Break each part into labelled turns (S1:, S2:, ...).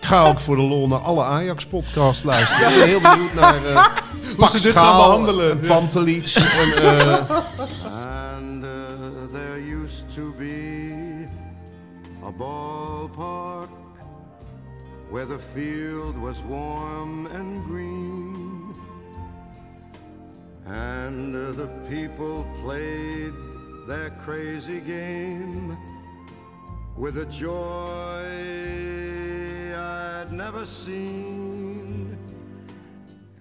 S1: ga ook voor de lol naar alle Ajax-podcasts luisteren. Ik ben heel benieuwd naar eh Pak
S2: ze dit
S1: Schaal
S2: gaan behandelen.
S1: en Pantelits. en, eh,
S3: And uh, there used to be a ballpark where the field was warm and green. And uh, the people played their crazy game with a joy I'd never seen.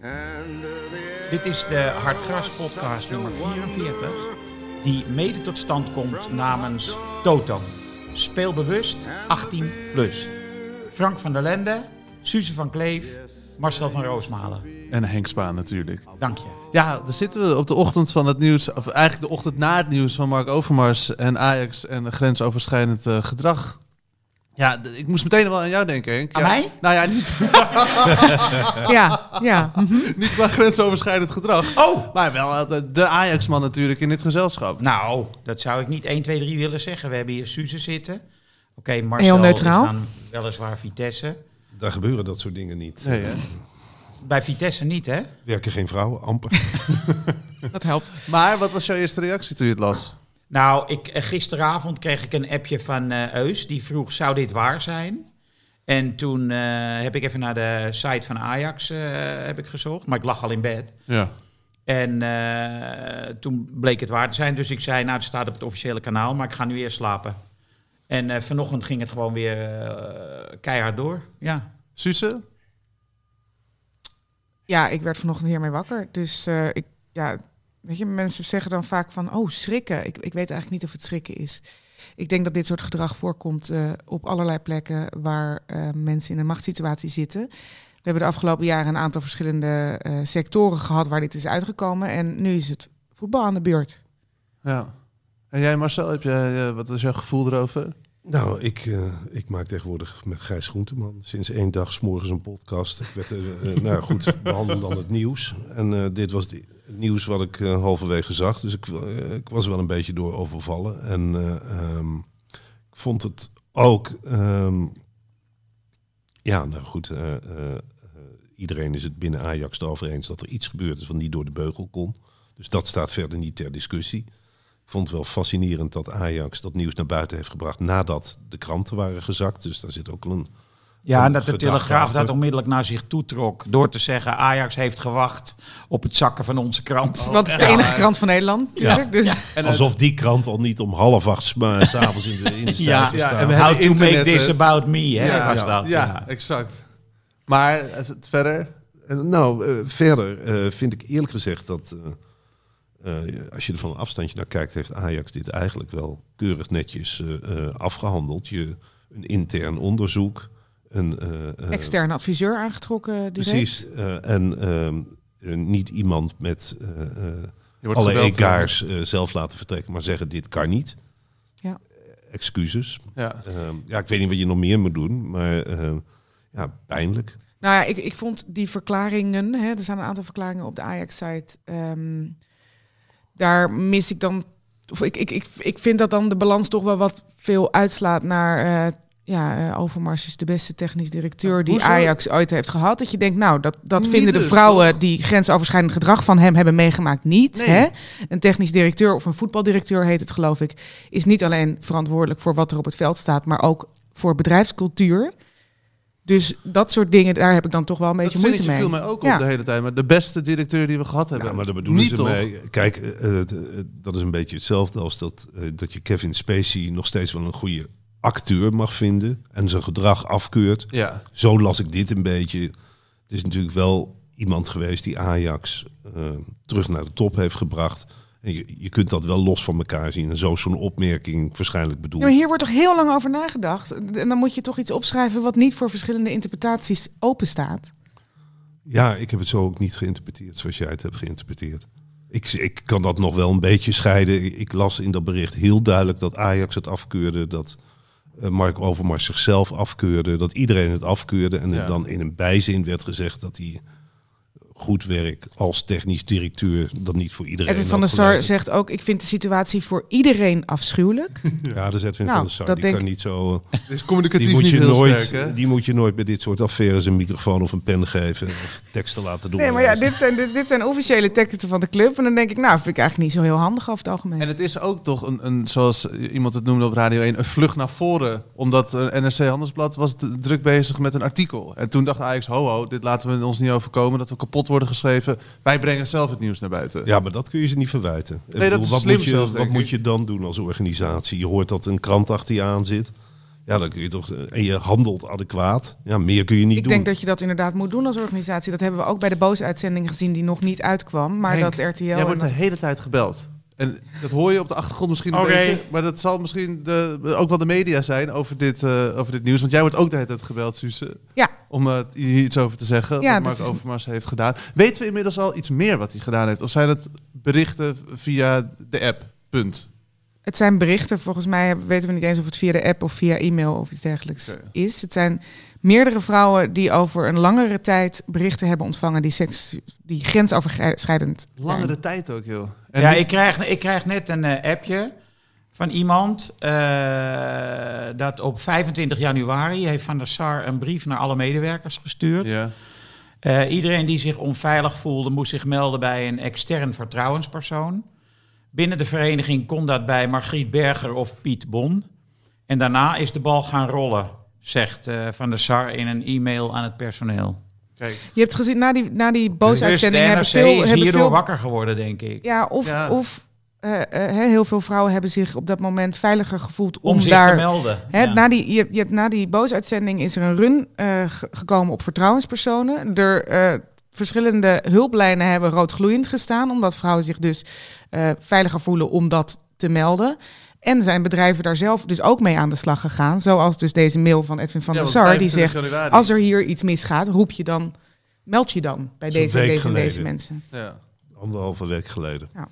S3: And uh, the
S4: Dit is de Hartgras
S3: was
S4: podcast
S3: such a
S4: nummer 44,
S3: wonder.
S4: die mede tot stand komt namens Toto. Speelbewust 18 plus. Frank van der Lende, Suze van Kleef, Marcel van Roosmalen.
S2: En Henk Spaan natuurlijk.
S4: Dank je.
S2: Ja, daar zitten we op de ochtend van het nieuws, of eigenlijk de ochtend na het nieuws van Mark Overmars en Ajax en grensoverschrijdend eh, gedrag. Ja, d- ik moest meteen wel aan jou denken, Henk.
S4: Aan
S2: Ja.
S4: mij?
S2: Nou ja, niet,
S5: Ja, ja. Mhm.
S2: niet qua grensoverschrijdend gedrag,
S4: Oh!
S2: maar wel eh, de, de Ajax-man natuurlijk in dit gezelschap.
S4: Nou, dat zou ik niet 1, 2, 3 willen zeggen. We hebben hier Suze zitten. Oké, Marcel
S5: Heel neutraal.
S4: is dan weliswaar Vitesse.
S6: Daar gebeuren dat soort dingen niet.
S2: Nee, hè?
S4: Bij Vitesse niet, hè?
S6: Werken geen vrouwen, amper.
S5: dat helpt.
S2: Maar wat was jouw eerste reactie toen je het las?
S4: Nou, ik, eh, gisteravond kreeg ik een appje van eh Eus. Die vroeg, zou dit waar zijn? En toen eh, heb ik even naar de site van Ajax eh, heb ik gezocht. Maar ik lag al in bed.
S2: Ja.
S4: En eh, toen bleek het waar te zijn. Dus ik zei, nou, het staat op het officiële kanaal. Maar ik ga nu eerst slapen. En eh, vanochtend ging het gewoon weer eh, keihard door. Ja.
S2: Suze?
S5: Ja, ik werd vanochtend hiermee wakker. Dus eh, ik, ja, weet je, mensen zeggen dan vaak van, oh, schrikken. Ik, ik weet eigenlijk niet of het schrikken is. Ik denk dat dit soort gedrag voorkomt eh, op allerlei plekken waar eh, mensen in een machtssituatie zitten. We hebben de afgelopen jaren een aantal verschillende eh, sectoren gehad waar dit is uitgekomen. En nu is het voetbal aan de beurt.
S2: Ja. En jij Marcel, heb je, eh, wat was jouw gevoel erover?
S6: nou, ik, eh, ik maak tegenwoordig met Gijs Groenteman sinds één dag s morgens een podcast. Ik werd, eh eh, nou ja, goed, behandel dan het nieuws. En eh, dit was het nieuws wat ik eh, halverwege zag. Dus ik, eh, ik was er wel een beetje door overvallen. En eh, ehm, ik vond het ook... ehm, ja, nou goed, eh, eh, eh, iedereen is het binnen Ajax erover eens dat er iets gebeurd is wat niet door de beugel kon. Dus dat staat verder niet ter discussie. Ik vond het wel fascinerend dat Ajax dat nieuws naar buiten heeft gebracht nadat de kranten waren gezakt. Dus daar zit ook wel een.
S4: Ja, en
S6: Een
S4: dat de
S6: gedrag
S4: Telegraaf
S6: erachter.
S4: dat onmiddellijk naar zich toetrok. Door te zeggen, Ajax heeft gewacht op het zakken van onze krant.
S5: Want het is de enige krant van Nederland, natuurlijk. Dus,
S2: En, eh,
S6: Alsof die krant al niet om half acht s- maar s'avonds in de, in de
S4: Ja,
S6: stijger
S2: ja,
S6: staat.
S2: en we hebben
S4: How to make
S2: internet,
S4: this
S2: hè?
S4: about me, hè?
S2: Ja,
S4: was
S2: ja,
S4: dat.
S2: ja, exact. Maar eh, het- verder?
S6: Eh, Nou, eh, verder eh, vind ik eerlijk gezegd dat eh, eh, als je er van een afstandje naar kijkt, heeft Ajax dit eigenlijk wel keurig netjes eh, eh, afgehandeld. Je, een intern onderzoek, een eh, eh,
S5: externe adviseur aangetrokken. Direct.
S6: Precies. eh, en ehm, eh, niet iemand met eh, eh,
S2: Je wordt
S6: alle
S2: gebeld,
S6: egaars eh, zelf laten vertrekken, maar zeggen dit kan niet. Eh,
S5: Ja.
S6: Excuses.
S2: Ja.
S6: Ehm, ja, ik weet niet wat je nog meer moet doen, maar ehm, ja, pijnlijk.
S5: Nou ja, ik, ik vond die verklaringen, hè, er staan een aantal verklaringen op de Ajax-site. ehm, daar mis ik dan, of ik, ik, ik, ik vind dat dan de balans toch wel wat veel uitslaat naar, eh, ja, eh, Overmars is de beste technisch directeur die
S2: Hoezo?
S5: Ajax ooit heeft gehad. Dat je denkt, nou, dat, dat
S2: Niet
S5: vinden de
S2: dus,
S5: vrouwen die grensoverschrijdend gedrag van hem hebben meegemaakt niet.
S2: Nee.
S5: Hè? Een technisch directeur of een voetbaldirecteur heet het, geloof ik, is niet alleen verantwoordelijk voor wat er op het veld staat, maar ook voor bedrijfscultuur. Dus dat soort dingen, daar heb ik dan toch wel een
S2: Dat
S5: beetje moeite
S2: zinnetje
S5: mee.
S2: viel mij ook op
S5: Ja.
S2: de hele tijd. Maar de beste directeur die we gehad hebben.
S6: Ja, maar daar bedoelen
S2: Niet
S6: ze
S2: toch?
S6: mee. Kijk, eh, eh, dat is een beetje hetzelfde als dat, eh, dat je Kevin Spacey nog steeds wel een goede acteur mag vinden en zijn gedrag afkeurt.
S2: Ja.
S6: Zo las ik dit een beetje. Het is natuurlijk wel iemand geweest die Ajax eh, terug naar de top heeft gebracht. En je, je kunt dat wel los van elkaar zien. En zo is zo'n opmerking waarschijnlijk bedoeld.
S5: Ja, maar hier wordt toch heel lang over nagedacht. En dan moet je toch iets opschrijven wat niet voor verschillende interpretaties openstaat.
S6: Ja, ik heb het zo ook niet geïnterpreteerd zoals jij het hebt geïnterpreteerd. Ik, ik kan dat nog wel een beetje scheiden. Ik las in dat bericht heel duidelijk dat Ajax het afkeurde. Dat eh, Mark Overmars zichzelf afkeurde. Dat iedereen het afkeurde. En er
S2: Ja.
S6: dan in een bijzin werd gezegd dat hij goed werk als technisch directeur. dat niet voor iedereen.
S5: Edwin van der
S6: had
S5: Sar
S6: geleverd.
S5: zegt ook, ik vind de situatie voor iedereen afschuwelijk.
S6: Ja, dat is Edwin
S5: Nou,
S6: van der Sar.
S5: dat
S6: Die
S5: denk
S6: kan niet zo. eh,
S2: Is communicatief
S6: Die moet, je
S2: heel
S6: nooit,
S2: sterk, hè?
S6: die moet je nooit bij dit soort affaires een microfoon of een pen geven. of teksten laten doen.
S5: Nee, maar ja, dit zijn, dit, dit zijn officiële teksten van de club. En dan denk ik, nou, vind ik eigenlijk niet zo heel handig over het algemeen.
S2: En het is ook toch een, een, zoals iemand het noemde op Radio 1, een vlucht naar voren. Omdat eh, NRC Handelsblad was d- druk bezig met een artikel. En toen dacht Ajax, ho ho, dit laten we ons niet overkomen, dat we kapot worden geschreven. Wij brengen zelf het nieuws naar buiten.
S6: Ja, maar dat kun je ze niet verwijten. Ik
S2: dat is
S6: wat
S2: slim
S6: moet je,
S2: zelfs, denk
S6: Wat moet
S2: ik.
S6: je dan doen als organisatie? Je hoort dat een krant achter je aan zit. Ja, dan kun je toch... En je handelt adequaat. Ja, meer kun je niet
S5: ik
S6: doen.
S5: denk dat je dat inderdaad moet doen als organisatie. Dat hebben we ook bij de boze uitzending gezien die nog niet uitkwam. Maar
S2: Henk,
S5: dat RTL...
S2: Jij
S5: en
S2: wordt de
S5: dat-
S2: hele tijd gebeld. En dat hoor je op de achtergrond misschien een
S4: Oké.
S2: beetje. Maar dat zal misschien de, ook wel de media zijn over dit, eh, over dit nieuws. Want jij wordt ook de hele tijd gebeld, Suze.
S5: Ja.
S2: Om eh, hier iets over te zeggen. wat
S5: Ja, dat
S2: Mark
S5: is-
S2: Overmars heeft gedaan. Weten we inmiddels al iets meer wat hij gedaan heeft? Of zijn het berichten via de app? Punt.
S5: Het zijn berichten. Volgens mij weten we niet eens of het via de app of via e-mail of iets dergelijks
S2: Oké.
S5: is. Het zijn meerdere vrouwen die over een langere tijd berichten hebben ontvangen die, seks, die grensoverschrijdend zijn.
S2: Langere tijd ook, joh. En
S4: Ja,
S2: niet-
S4: ik krijg, ik krijg net een eh, appje van iemand eh, dat op 25 januari heeft Van der Sar een brief naar alle medewerkers gestuurd.
S2: Ja.
S4: Eh, iedereen die zich onveilig voelde moest zich melden bij een extern vertrouwenspersoon. Binnen de vereniging kon dat bij Margriet Berger of Piet Bon. En daarna is de bal gaan rollen, zegt eh, Van der Sar in een e-mail aan het personeel.
S2: Kijk,
S5: Je hebt gezien, na die, na die
S4: Dus
S5: boze
S4: de
S5: uitzending
S4: NRC
S5: hebben veel...
S4: is
S5: hebben
S4: hierdoor
S5: veel
S4: wakker geworden, denk ik.
S5: ja, of,
S2: Ja.
S5: of eh, eh, hè, heel veel vrouwen hebben zich op dat moment veiliger gevoeld om,
S4: Om, zich
S5: daar...
S4: te melden.
S5: Hè,
S4: ja.
S5: na die, je, hebt- je hebt na die boosuitzending is er een run eh, ge- gekomen op vertrouwenspersonen. Er eh, verschillende hulplijnen hebben rood gloeiend gestaan, omdat vrouwen zich dus eh, veiliger voelen om dat te melden. En zijn bedrijven daar zelf dus ook mee aan de slag gegaan. Zoals dus deze mail van Edwin van
S2: ja,
S5: der
S2: want
S5: Sar, die
S2: 25
S5: zegt:
S2: januari.
S5: Als er hier iets misgaat, roep je dan, meld je dan bij
S6: Zo'n
S5: deze, en
S6: week
S5: deze en deze
S6: geleden.
S5: mensen.
S2: Ja.
S6: Anderhalve week geleden.
S2: Ja.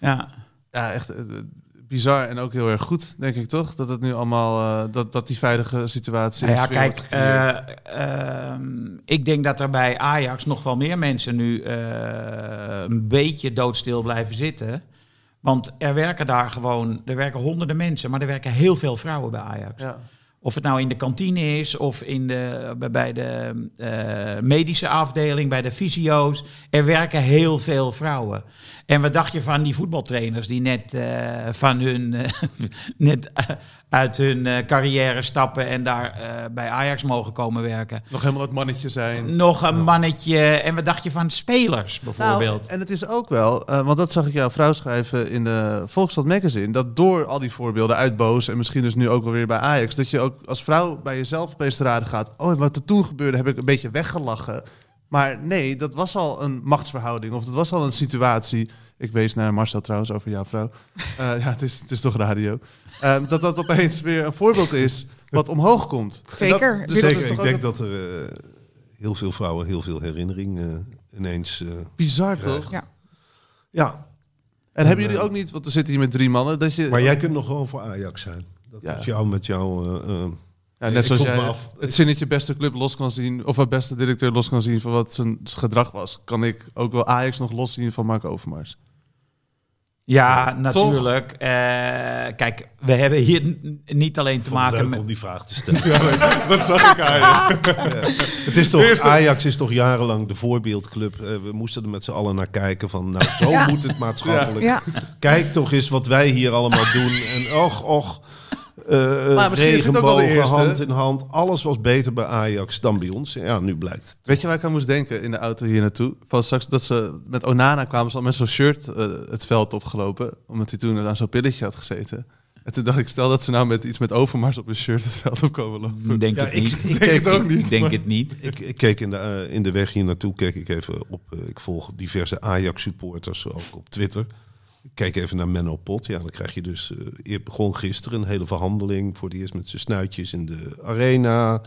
S4: Ja.
S2: ja, echt eh, bizar en ook heel erg goed, denk ik toch? Dat het nu allemaal, eh, dat, dat die veilige situatie...
S4: Nou ja,
S2: en sfeer wordt
S4: kijk,
S2: gecreëerd.
S4: eh, ehm, ik denk dat er bij Ajax nog wel meer mensen nu eh, een beetje doodstil blijven zitten. Want er werken daar gewoon, er werken honderden mensen, maar er werken heel veel vrouwen bij Ajax.
S2: ja.
S4: Of het nou in de kantine is, of in de, bij- bij de eh, medische afdeling, bij de fysio's. Er werken heel veel vrouwen. En wat dacht je van die voetbaltrainers die net, eh, van hun, eh, net eh, uit hun eh, carrière stappen en daar eh, bij Ajax mogen komen werken?
S2: Nog helemaal het mannetje zijn.
S4: Nog een mannetje. En wat dacht je van spelers bijvoorbeeld?
S2: Nou, en het is ook wel, eh, want dat zag ik jouw vrouw schrijven in de Volksstad Magazine, dat door al die voorbeelden uit Boos en misschien dus nu ook wel weer bij Ajax, dat je ook als vrouw bij jezelf opeens te raden gaat, oh, wat er toen gebeurde heb ik een beetje weggelachen. Maar nee, dat was al een machtsverhouding of dat was al een situatie. Ik wees naar Marcel trouwens over jouw vrouw. Eh, ja, het is, het is toch radio. Ehm, dat dat opeens weer een voorbeeld is wat omhoog komt. En dat- dus
S5: Zeker.
S2: dat is
S6: Zeker,
S2: toch
S6: ik
S2: ook
S6: denk
S2: dat...
S6: dat er eh, heel veel vrouwen heel veel herinnering eh, ineens... eh,
S2: Bizar
S6: Ja.
S2: toch?
S6: ja,
S2: En hebben jullie ook niet, want we zitten hier met drie mannen, dat je...
S6: eh, maar jij kunt nog gewoon voor Ajax zijn. Dat
S2: Ja.
S6: is jou met jou... eh, eh,
S2: Ja,
S6: Ik-
S2: net
S6: ik
S2: zoals
S6: vroeg me
S2: jij
S6: af.
S2: het zinnetje beste club los kan zien, of het beste directeur los kan zien van wat zijn gedrag was, kan ik ook wel Ajax nog los zien van Mark Overmars.
S4: ja,
S2: toch?
S4: natuurlijk. Eh, kijk, we hebben hier n- niet alleen te
S6: vond het
S4: maken
S6: leuk
S4: met...
S6: om die vraag te stellen. dat zag ik eigenlijk. Het is toch, Ajax is toch jarenlang de voorbeeldclub. Eh, we moesten er met z'n allen naar kijken van, nou zo moet het maatschappelijk.
S5: Ja.
S6: Kijk toch eens wat wij hier allemaal doen. En och, och. eh
S2: Maar misschien is het ook wel de
S6: regenbogen,
S2: eerste.
S6: hand in hand. Alles was beter bij Ajax dan bij ons. Ja, nu blijkt.
S2: Weet je waar ik aan moest denken in de auto hier naartoe? Van straks dat ze met Onana kwamen ze al met zo'n shirt eh, het veld opgelopen. Omdat hij toen aan zo'n pilletje had gezeten. En toen dacht ik, stel dat ze nou met iets met Overmars op hun shirt het veld op komen lopen.
S4: Hmm, Denk
S6: Ja,
S4: het
S6: ik-
S4: niet.
S6: ik denk het ook niet,
S4: Denk
S6: maar-
S4: het niet.
S6: Ik, ik keek in de, eh, in de weg hier naartoe, keek ik even op. eh, ik volg diverse Ajax-supporters, ook op Twitter. Ik keek even naar Menno Pot. Ja, dan krijg je dus... eh, je begon gisteren een hele verhandeling voor het eerst met zijn snuitjes in de arena.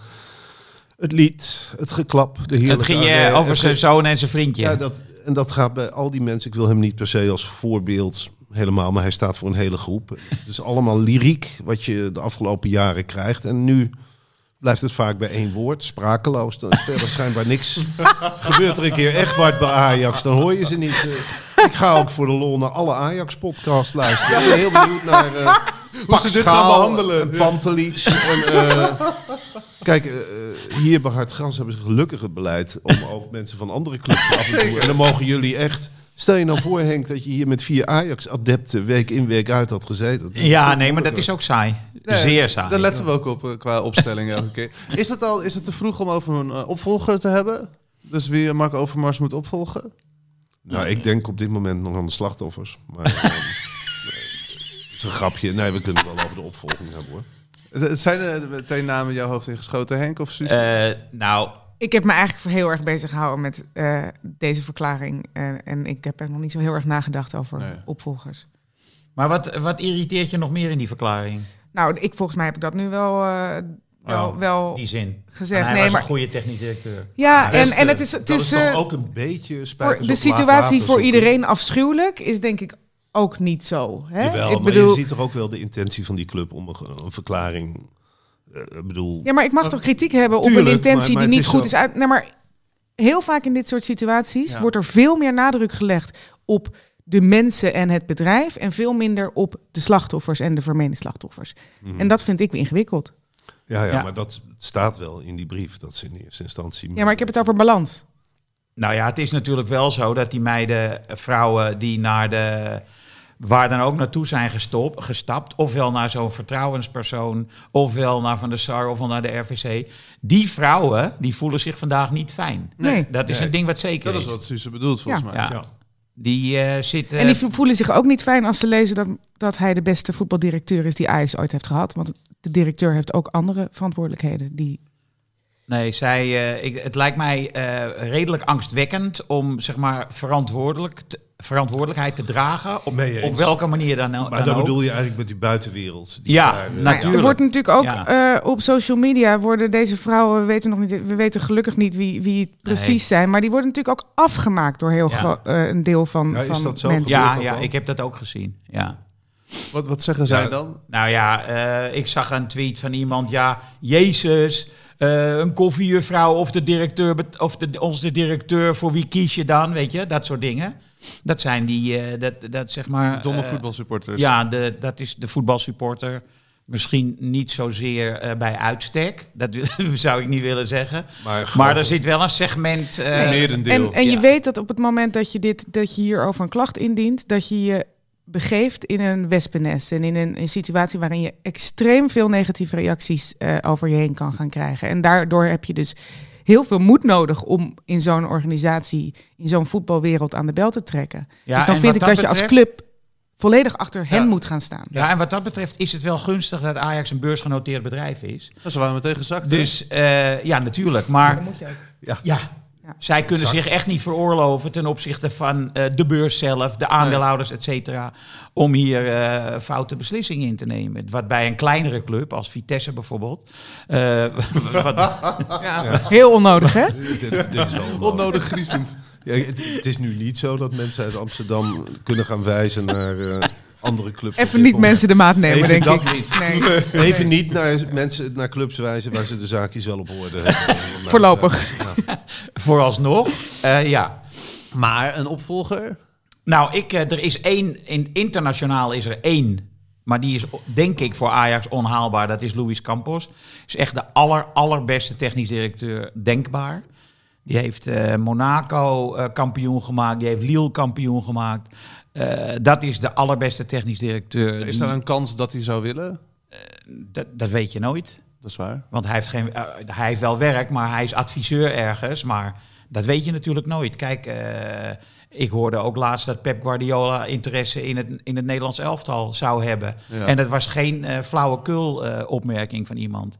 S6: Het lied, het geklap, de heerlijke
S4: Het ging
S6: arena,
S4: eh, over
S6: het
S4: zijn
S6: ge-
S4: zoon en zijn vriendje.
S6: Ja, dat, en dat gaat bij al die mensen. Ik wil hem niet per se als voorbeeld helemaal, maar hij staat voor een hele groep. Het is allemaal lyriek wat je de afgelopen jaren krijgt. En nu blijft het vaak bij één woord, sprakeloos. Dan is verder schijnbaar niks. Gebeurt er een keer echt wat bij Ajax, dan hoor je ze niet. eh. Ik ga ook voor de lol naar alle Ajax-podcasts luisteren. Ik ben heel benieuwd naar... eh Hoe
S2: ze dit gaan behandelen.
S6: En Pantelic. En, eh, Kijk, eh, eh, hier bij Hard Gras hebben ze gelukkig het beleid om ook mensen van andere clubs af en toe. En dan mogen jullie echt. Stel je nou voor, Henk, dat je hier met vier Ajax-adepten week in week uit had gezeten. Dat is
S4: Ja,
S6: veel
S4: nee, maar dat
S6: moeilijker.
S4: is ook saai.
S2: Nee,
S4: Zeer saai.
S2: Daar letten we ook op eh, qua opstelling elke keer. Is het, al, is het te vroeg om over een eh, opvolger te hebben? Dus wie eh, Mark Overmars moet opvolgen?
S6: Nou, ik denk op dit moment nog aan de slachtoffers. Maar. eh, nee, het is een grapje. Nee, we kunnen het wel over de opvolging hebben hoor.
S2: Z- Zijn er meteen namen in jouw hoofd ingeschoten, Henk of Suus?
S4: Eh, nou,
S5: Ik heb me eigenlijk heel erg bezig gehouden met eh, deze verklaring. En, en ik heb er nog niet zo heel erg nagedacht over
S2: Nee.
S5: opvolgers.
S4: maar wat, wat irriteert je nog meer in die verklaring?
S5: Nou, ik, volgens mij heb ik dat nu wel, eh, wel,
S4: Oh,
S5: wel
S4: Die zin. En
S5: gezegd.
S4: hij
S5: Nee,
S4: was
S5: maar,
S4: een goede technisch directeur.
S5: ja, en,
S6: Beste,
S5: en het is, het
S6: dat
S5: is,
S6: toch
S5: eh,
S6: ook een beetje spijtig.
S5: voor de situatie voor iedereen afschuwelijk is denk ik ook niet zo. Hè?
S6: Jawel,
S5: ik
S6: maar je
S5: bedoel,
S6: ziet toch ook wel de intentie van die club om een, een verklaring. eh, Ik bedoel,
S5: Ja, maar ik mag toch kritiek hebben op
S6: Tuurlijk,
S5: een intentie
S6: maar- maar
S5: die
S6: het
S5: niet
S6: is
S5: goed
S6: zo.
S5: is uit. Nee, maar heel vaak in dit soort situaties
S2: Ja.
S5: wordt er veel meer nadruk gelegd op de mensen en het bedrijf en veel minder op de slachtoffers en de vermeende slachtoffers.
S6: Mhm.
S5: En dat vind ik weer ingewikkeld.
S6: Ja, ja,
S4: Ja.
S6: maar dat staat wel in die brief. Dat ze in eerste instantie.
S5: Ja, maar ik heb het over balans.
S4: Nou ja, het is natuurlijk wel zo dat die meiden, eh, vrouwen die naar de. waar dan ook naartoe zijn gestop, gestapt. ofwel naar zo'n vertrouwenspersoon. ofwel naar Van der Sar ofwel naar de RVC. die vrouwen die voelen zich vandaag niet fijn.
S5: Nee.
S4: Dat is
S2: Nee.
S4: een ding wat zeker
S2: dat is wat Suus bedoelt volgens
S5: Ja.
S2: mij.
S4: Ja. Die eh, zitten.
S5: En die vo- voelen zich ook niet fijn als ze lezen dat, dat hij de beste voetbaldirecteur is die Ajax ooit heeft gehad. Want de directeur heeft ook andere verantwoordelijkheden. Die...
S4: Nee, zij, eh, ik, het lijkt mij eh, redelijk angstwekkend om zeg maar, verantwoordelijk te- verantwoordelijkheid te dragen. Op,
S6: Mee eens.
S4: op welke manier dan, dan
S6: Maar dat
S4: ook.
S6: bedoel je eigenlijk met die buitenwereld. Die
S4: Ja,
S6: eh,
S4: nou,
S5: Maar ja, er wordt natuurlijk ook eh, op social media worden deze vrouwen, we weten nog niet, we weten gelukkig niet wie, wie het precies
S4: Nee.
S5: zijn, maar die worden natuurlijk ook afgemaakt door heel
S4: Ja.
S5: gro- eh, een deel van,
S6: Ja, Nou, is
S5: van
S6: dat zo
S5: mensen.
S4: Ja,
S6: dat
S4: ja
S6: dan?
S4: ik heb dat ook gezien. Ja.
S2: Wat, wat zeggen
S6: Ja.
S2: zij dan?
S4: Nou ja, eh, ik zag een tweet van iemand. Ja, Jezus, eh, een koffiejuffrouw of, de directeur, bet- of de, ons de directeur, voor wie kies je dan? Weet je, dat soort dingen. Dat zijn die, eh, dat, dat zeg maar...
S2: Domme
S4: eh,
S2: voetbalsupporters.
S4: Ja, de, dat is de voetbalsupporter. Misschien niet zozeer eh, bij uitstek. Dat zou ik niet willen zeggen.
S6: Maar,
S4: Maar er zit wel een segment. eh,
S2: Meer een deel.
S5: En, en je
S4: Ja.
S5: weet dat op het moment dat je, dit, dat je hierover een klacht indient, dat je je begeeft in een wespennest en in een, een situatie waarin je extreem veel negatieve reacties eh, over je heen kan gaan krijgen. En daardoor heb je dus heel veel moed nodig om in zo'n organisatie, in zo'n voetbalwereld aan de bel te trekken.
S4: Ja,
S5: dus dan
S4: en
S5: vind ik
S4: wat
S5: dat,
S4: dat
S5: je als
S4: betreft-
S5: club volledig achter hen
S2: Ja.
S5: moet gaan staan.
S4: Ja, en wat dat betreft is het wel gunstig dat Ajax een beursgenoteerd bedrijf is.
S2: Nou, ze waren meteen gezakt. hè?
S4: Dus eh, ja, natuurlijk. Maar ja.
S5: Ja.
S4: Zij kunnen zich echt niet veroorloven ten opzichte van eh, de beurs zelf, de aandeelhouders, et cetera, om hier eh, foute beslissingen in te nemen. Wat bij een kleinere club, als Vitesse bijvoorbeeld, eh, wat,
S5: Heel onnodig, hè?
S6: dit, dit is wel onnodig.
S2: Onnodig grievend.
S6: Ja, het, het is nu niet zo dat mensen uit Amsterdam kunnen gaan wijzen naar eh, andere clubs. op
S5: Even
S6: dit
S5: niet
S6: moment.
S5: mensen de maat nemen,
S6: Even
S5: denk
S6: dat
S5: ik.
S6: niet.
S5: Nee.
S6: Even niet naar mensen naar clubs wijzen waar ze de zaakjes wel op hoorde. hebben. eh,
S5: Voorlopig.
S4: vooralsnog, eh, ja.
S2: Maar een opvolger?
S4: Nou, ik, eh, er is één, in, internationaal is er één, maar die is o- denk ik voor Ajax onhaalbaar. Dat is Luis Campos. Is echt de aller, allerbeste technisch directeur denkbaar. Die heeft eh, Monaco eh, kampioen gemaakt, die heeft Lille kampioen gemaakt. Eh, dat is de allerbeste technisch directeur.
S2: Is
S4: die-
S2: daar een kans dat hij zou willen?
S4: dat, dat weet je nooit.
S2: Dat is waar.
S4: Want hij heeft, geen, eh, hij heeft wel werk, maar hij is adviseur ergens. Maar dat weet je natuurlijk nooit. Kijk, eh, ik hoorde ook laatst dat Pep Guardiola interesse in het, in het Nederlands elftal zou hebben.
S2: Ja.
S4: En dat was geen eh flauwekul eh, opmerking van iemand.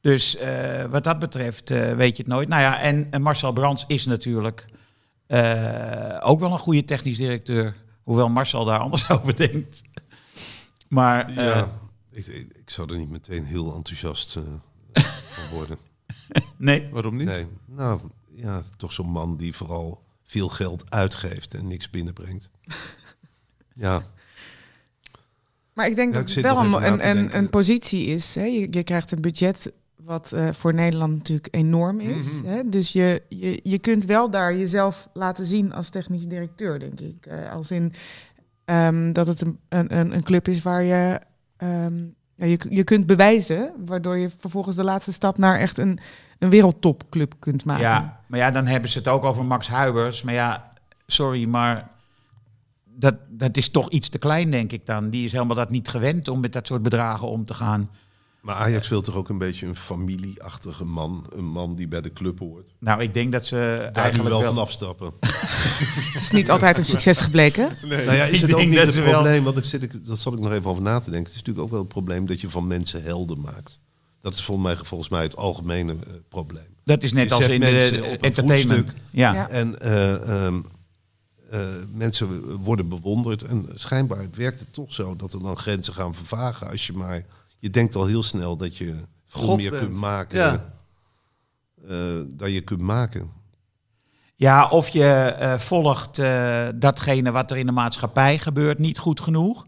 S4: Dus eh, wat dat betreft eh, weet je het nooit. Nou ja, en, en Marcel Brands is natuurlijk eh, ook wel een goede technisch directeur. Hoewel Marcel daar anders over denkt. Maar eh,
S6: ja, ik, ik, ik zou er niet meteen heel enthousiast eh, van worden.
S4: nee.
S2: Waarom niet?
S6: Nee, nou ja, toch zo'n man die vooral veel geld uitgeeft en niks binnenbrengt. Ja,
S5: Maar ik denk
S6: Ja,
S5: dat
S6: ik
S5: het
S6: zit
S5: wel
S6: nog
S5: een,
S6: even na
S5: een,
S6: te
S5: een,
S6: denken.
S5: een positie is. Hè? Je, je krijgt een budget wat eh, voor Nederland natuurlijk enorm is.
S6: Mhm.
S5: hè? Dus je, je, je kunt wel daar jezelf laten zien als technisch directeur, denk ik. Eh, als in ehm, dat het een, een, een een club is waar je, ehm, ja, je... Je kunt bewijzen, waardoor je vervolgens de laatste stap naar echt een, een wereldtopclub kunt maken.
S4: Ja, maar ja, dan hebben ze het ook over Max Huibers. Maar ja, sorry, maar dat, dat is toch iets te klein, denk ik dan. Die is helemaal dat niet gewend om met dat soort bedragen om te gaan.
S6: maar Ajax wil toch ook een beetje een familieachtige man. Een man die bij de club hoort.
S4: Nou, ik denk dat ze
S6: Daar nu
S4: eigenlijk
S6: wel
S4: wel...
S6: van afstappen.
S5: Het is niet altijd een succes gebleken.
S6: Nou ja, is
S4: Ik
S6: het ook
S4: denk
S6: niet
S4: dat
S6: het
S4: ze wel-
S6: probleem, want ik zit, ik, dat zat ik nog even over na te denken. Het is natuurlijk ook wel het probleem dat je van mensen helden maakt. Dat is volgens mij, volgens mij het algemene eh, probleem.
S4: Dat is net
S6: Je
S4: als
S6: zet
S4: in
S6: mensen
S4: de
S6: op een
S4: entertainment.
S6: voetstuk.
S4: Ja.
S5: Ja.
S6: En eh, ehm, eh, mensen worden bewonderd. En schijnbaar het werkt het toch zo dat er dan grenzen gaan vervagen. Als je maar, je denkt al heel snel dat je veel
S2: God
S6: meer
S2: bent.
S6: kunt maken.
S2: Ja.
S6: eh, dan je kunt maken.
S4: ja, of je eh, volgt eh, datgene wat er in de maatschappij gebeurt niet goed genoeg.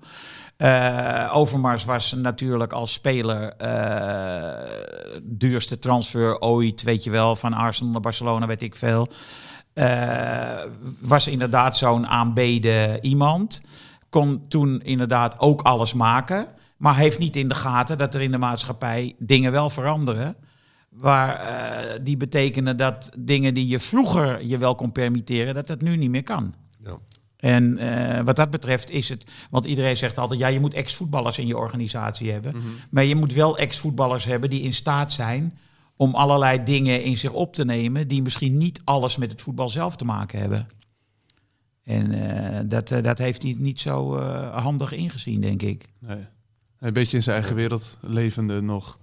S4: Eh, Overmars was natuurlijk als speler eh, duurste transfer ooit, weet je wel, van Arsenal naar Barcelona, weet ik veel. Eh, was inderdaad zo'n aanbeden iemand. Kon toen inderdaad ook alles maken, maar heeft niet in de gaten dat er in de maatschappij dingen wel veranderen. Waar eh, die betekenen dat dingen die je vroeger je wel kon permitteren, dat dat nu niet meer kan.
S6: Ja.
S4: En eh, wat dat betreft is het, want iedereen zegt altijd, ja, je moet ex-voetballers in je organisatie hebben. Maar je moet wel ex-voetballers hebben die in staat zijn om allerlei dingen in zich op te nemen die misschien niet alles met het voetbal zelf te maken hebben. En eh, dat, eh, dat heeft hij niet zo eh, handig ingezien, denk ik.
S2: Nee. Een beetje in zijn eigen wereld levende nog.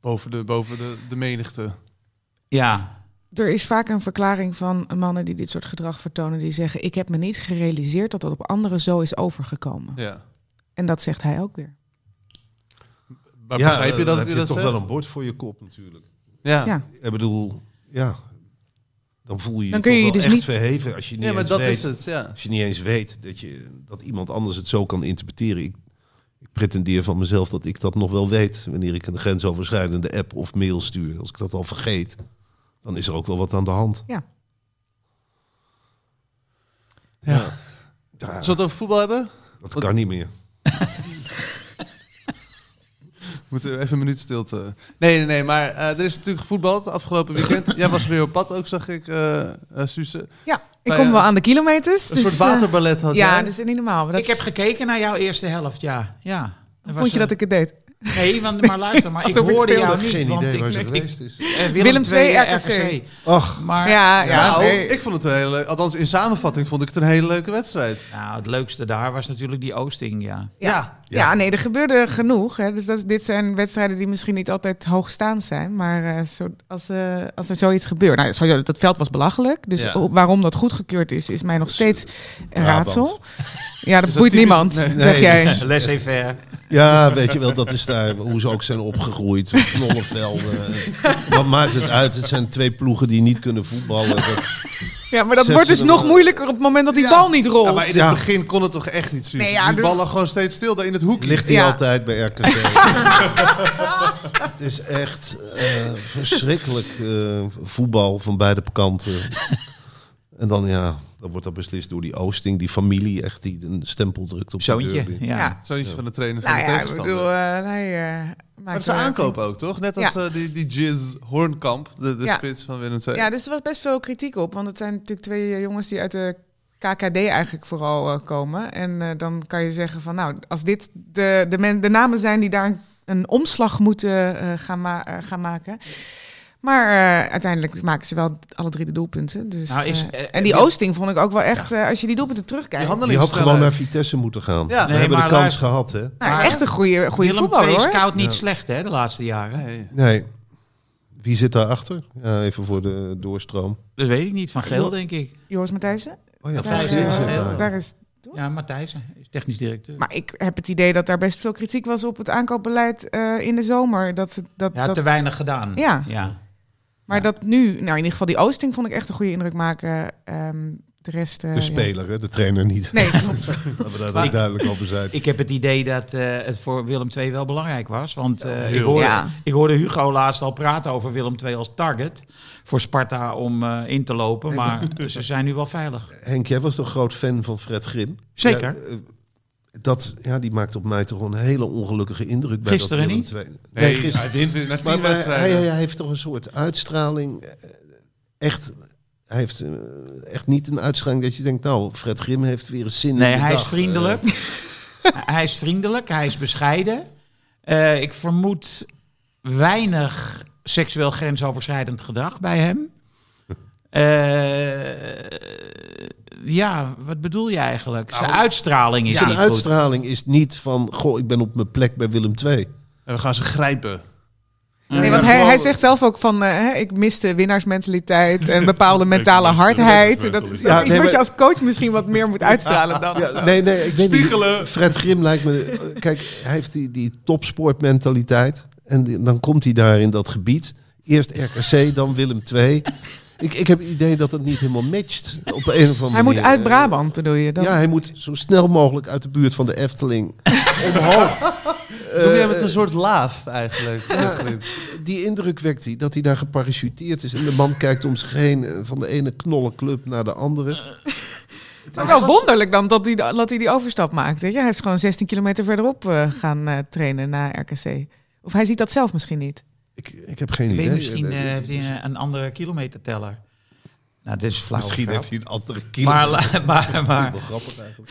S2: Boven de, boven de, de menigte.
S4: Ja,
S5: Er is vaak een verklaring van mannen die dit soort gedrag vertonen, die zeggen: Ik heb me niet gerealiseerd dat dat op anderen zo is overgekomen.
S2: Ja.
S5: En dat zegt hij ook weer.
S2: Maar
S6: Ja,
S2: begrijp je
S6: dan
S2: dat
S6: heb
S2: hij
S6: je
S2: dat
S6: toch
S2: zegt?
S6: wel een bord voor je kop natuurlijk.
S2: Ja.
S5: Ja.
S2: ja.
S6: Ik bedoel, ja, dan voel je je,
S5: Dan kun
S6: toch
S5: je je
S6: wel
S5: dus
S6: echt
S5: niet-
S6: verheven als je niet,
S2: maar
S6: eens
S2: dat
S6: weet,
S2: is het. Ja.
S6: Als je niet eens weet dat, je, dat iemand anders het zo kan interpreteren. Ik, ik pretendeer van mezelf dat ik dat nog wel weet wanneer ik een grensoverschrijdende app of mail stuur. Als ik dat al vergeet, dan is er ook wel wat aan de hand.
S5: Ja.
S2: Ja.
S6: Ja,
S2: Zullen we het over voetbal hebben?
S6: dat kan niet meer.
S2: Moeten we even een minuut stilte. Nee, nee, nee. Maar eh, er is natuurlijk gevoetbald afgelopen weekend. Jij was weer op pad ook, zag ik, eh eh, Suze.
S5: Ja, ik
S2: Nou
S5: kom
S2: ja,
S5: wel aan de kilometers.
S2: Een
S5: dus,
S2: soort
S5: eh,
S2: waterballet had
S5: ja, dus-
S2: jij.
S5: dat is niet normaal. maar Dat,
S4: ik heb gekeken naar jouw eerste helft, ja. ja. Er was
S5: vond je
S4: een-
S5: dat ik het deed?
S4: Nee, want, maar luister, maar ik
S5: Alsof ik
S4: hoorde
S5: speelde.
S4: jou niet.
S6: Geen
S4: want
S6: idee
S4: ik,
S6: waar ze
S4: ik-
S6: geweest is.
S4: eh,
S5: Willem
S4: II,
S5: II,
S4: RKC.
S6: Ach,
S4: Maar
S5: ja, ja.
S2: nou,
S5: nee.
S2: ik vond het een hele leuke... Althans, in samenvatting vond ik het een hele leuke wedstrijd.
S4: Nou, het leukste daar was natuurlijk die Oosting, ja.
S5: Ja.
S2: Ja.
S5: Ja. nee, er gebeurde genoeg. Hè. Dus dat, is- dit zijn wedstrijden die misschien niet altijd hoogstaand zijn. Maar eh, zo, als, eh, als er zoiets gebeurt. Nou, sowieso, dat veld was belachelijk. Dus
S2: Ja. eh,
S5: o- waarom dat goedgekeurd is, is mij nog steeds een
S6: Brabant.
S5: raadsel. Ja, dat
S2: Is dat typisch-
S5: boeit niemand.
S2: Nee,
S5: zeg jij.
S4: Laissez-faire.
S6: ja, weet je wel, dat is daar hoe ze ook zijn opgegroeid. Knollenvelden. Wat maakt het uit? Het zijn twee ploegen die niet kunnen voetballen. Dat-
S5: Ja, maar dat
S6: Zet
S5: wordt
S6: ze
S5: dus
S6: er
S5: nog
S6: wel-
S5: moeilijker op het moment dat die bal niet rolt.
S2: Ja, maar in het
S6: Ja.
S2: begin kon het toch echt niet, Suze?
S5: Nee, ja,
S2: die
S5: dus-
S2: ballen gewoon steeds stil daar in het hoekje.
S6: Ligt hij
S5: Ja.
S6: altijd bij RKC. het is echt eh, verschrikkelijk eh, voetbal van beide kanten. En dan ja, dan wordt dat beslist door die Oosting, die familie echt die een stempel drukt op de
S4: Zoontje,
S6: derby.
S4: ja.
S5: Ja.
S2: Zoiets van de trainer van
S5: nou
S2: de
S5: ja, ik
S2: tegenstander.
S5: bedoel, eh, hij eh,
S2: maar
S5: maakt
S2: ze
S5: wel-
S2: aankopen ook, toch? Net als eh, die, die Jizz Hoornkamp, de, de
S5: Ja.
S2: spits van Willem II.
S5: Ja, dus er was best veel kritiek op. Want het zijn natuurlijk twee eh, jongens die uit de KKD eigenlijk vooral eh, komen. En eh, dan kan je zeggen van nou, als dit de, de, men, de namen zijn die daar een, een omslag moeten eh, gaan, ma- eh, gaan maken. Maar eh, uiteindelijk maken ze wel alle drie de doelpunten. Dus,
S4: Nou, is-
S5: eh,
S4: eh,
S5: en die
S4: eh,
S5: Oosting vond ik ook wel echt, eh, als je die doelpunten
S2: Die
S5: terugkijkt.
S6: Je had
S2: handelingssnelheid.
S6: gewoon naar Vitesse moeten gaan.
S2: Ja.
S6: We
S4: Nee,
S6: hebben de
S4: maar
S6: kans
S4: luister-
S6: gehad, hè?
S5: Nou,
S4: Maar
S5: echt een goede, goede
S4: Willem
S5: voetballer
S4: II is
S5: hoor.
S4: koud niet
S6: Ja.
S4: slecht hè, de laatste jaren.
S2: Nee.
S6: Nee. Wie zit daarachter? Ja, even voor de doorstroom.
S4: Dat weet ik niet, van Geel denk ik.
S5: Joris Matthijssen.
S6: Oh ja, Van
S5: Daar,
S4: Vijf-
S6: Geel
S5: eh,
S6: zit
S4: Ja.
S6: daar.
S5: daar is,
S4: Ja, Matthijsen is technisch directeur.
S5: maar ik heb het idee dat daar best veel kritiek was op het aankoopbeleid eh, in de zomer. Dat ze, dat,
S4: Ja,
S5: dat,
S4: te weinig gedaan.
S5: Ja.
S4: ja.
S5: maar
S4: ja.
S5: dat nu, nou in ieder geval die Oosting vond ik echt een goede indruk maken. Ehm, de rest... eh,
S6: De
S5: ja.
S6: speler, hè? de trainer niet.
S5: Nee, klopt.
S6: Laten we daar ook duidelijk over zijn.
S4: Ik heb het idee dat eh, het voor Willem II wel belangrijk was. Want eh, ik,
S6: heel.
S4: hoorde,
S5: Ja.
S4: ik hoorde Hugo laatst al praten over Willem II als target voor Sparta om eh, in te lopen. Maar ze zijn nu wel veilig.
S6: Henk, jij was toch groot fan van Fred Grim?
S4: Zeker.
S6: Ja, eh, dat, ja, die maakt op mij toch een hele ongelukkige indruk bij
S4: Gisteren
S6: dat Willem
S4: niet?
S6: II. Nee,
S2: Nee,
S6: gisteren.
S2: hij wint weer na tien
S6: Maar, maar hij,
S2: wedstrijden.
S6: hij heeft toch een soort uitstraling. eh, Echt, hij heeft eh, echt niet een uitstraling dat je denkt, nou, Fred Grim heeft weer een zin
S4: Nee,
S6: in de
S4: hij is
S6: dag. eh,
S4: vriendelijk. hij is vriendelijk, hij is bescheiden. Eh, ik vermoed weinig seksueel grensoverschrijdend gedrag bij hem. Eh, ja, wat bedoel je eigenlijk? Zijn uitstraling is
S6: Eh, Nou, zijn
S4: niet goed.
S6: uitstraling is niet van, goh, ik ben op mijn plek bij Willem II.
S2: En we gaan ze grijpen.
S5: Nee, want hij, hij zegt zelf ook van, eh, hè, ik miste winnaarsmentaliteit en bepaalde mentale hardheid. Dat is
S6: Ja,
S5: ook iets
S6: nee,
S5: wat je
S6: maar-
S5: als coach misschien wat meer moet uitstralen dan. of zo.
S6: Ja, nee, nee, ik weet
S2: Spiegelen.
S6: niet. Fred Grim lijkt me... Kijk, hij heeft die, die topsportmentaliteit. En die- dan komt hij daar in dat gebied. Eerst RKC, dan Willem II. Ik, ik heb het idee dat dat niet helemaal matcht. Op een of andere
S5: Hij moet
S6: manier.
S5: uit Brabant, bedoel je? Dan?
S6: Ja, hij moet zo snel mogelijk uit de buurt van de Efteling. Eh,
S2: Noem jij het een soort laaf eigenlijk? Fred Grim?
S6: Die indruk wekt hij, dat hij daar geparachuteerd is. En de man kijkt om zich heen, eh, van de ene knollenclub naar de andere.
S5: Maar wel wonderlijk dan dat hij, dat hij die overstap maakt. Weet je? Hij is gewoon 16 kilometer verderop eh, gaan eh, trainen na RKC. Of hij ziet dat zelf misschien niet.
S6: Ik, ik heb geen
S4: Ik weet
S6: idee.
S4: misschien eh, heeft hij een- een andere kilometerteller. Nou, dit is flauw.
S6: Misschien
S4: grap.
S6: heeft hij een andere kilo.
S4: Maar, la- maar, maar
S6: Wel grappig eigenlijk.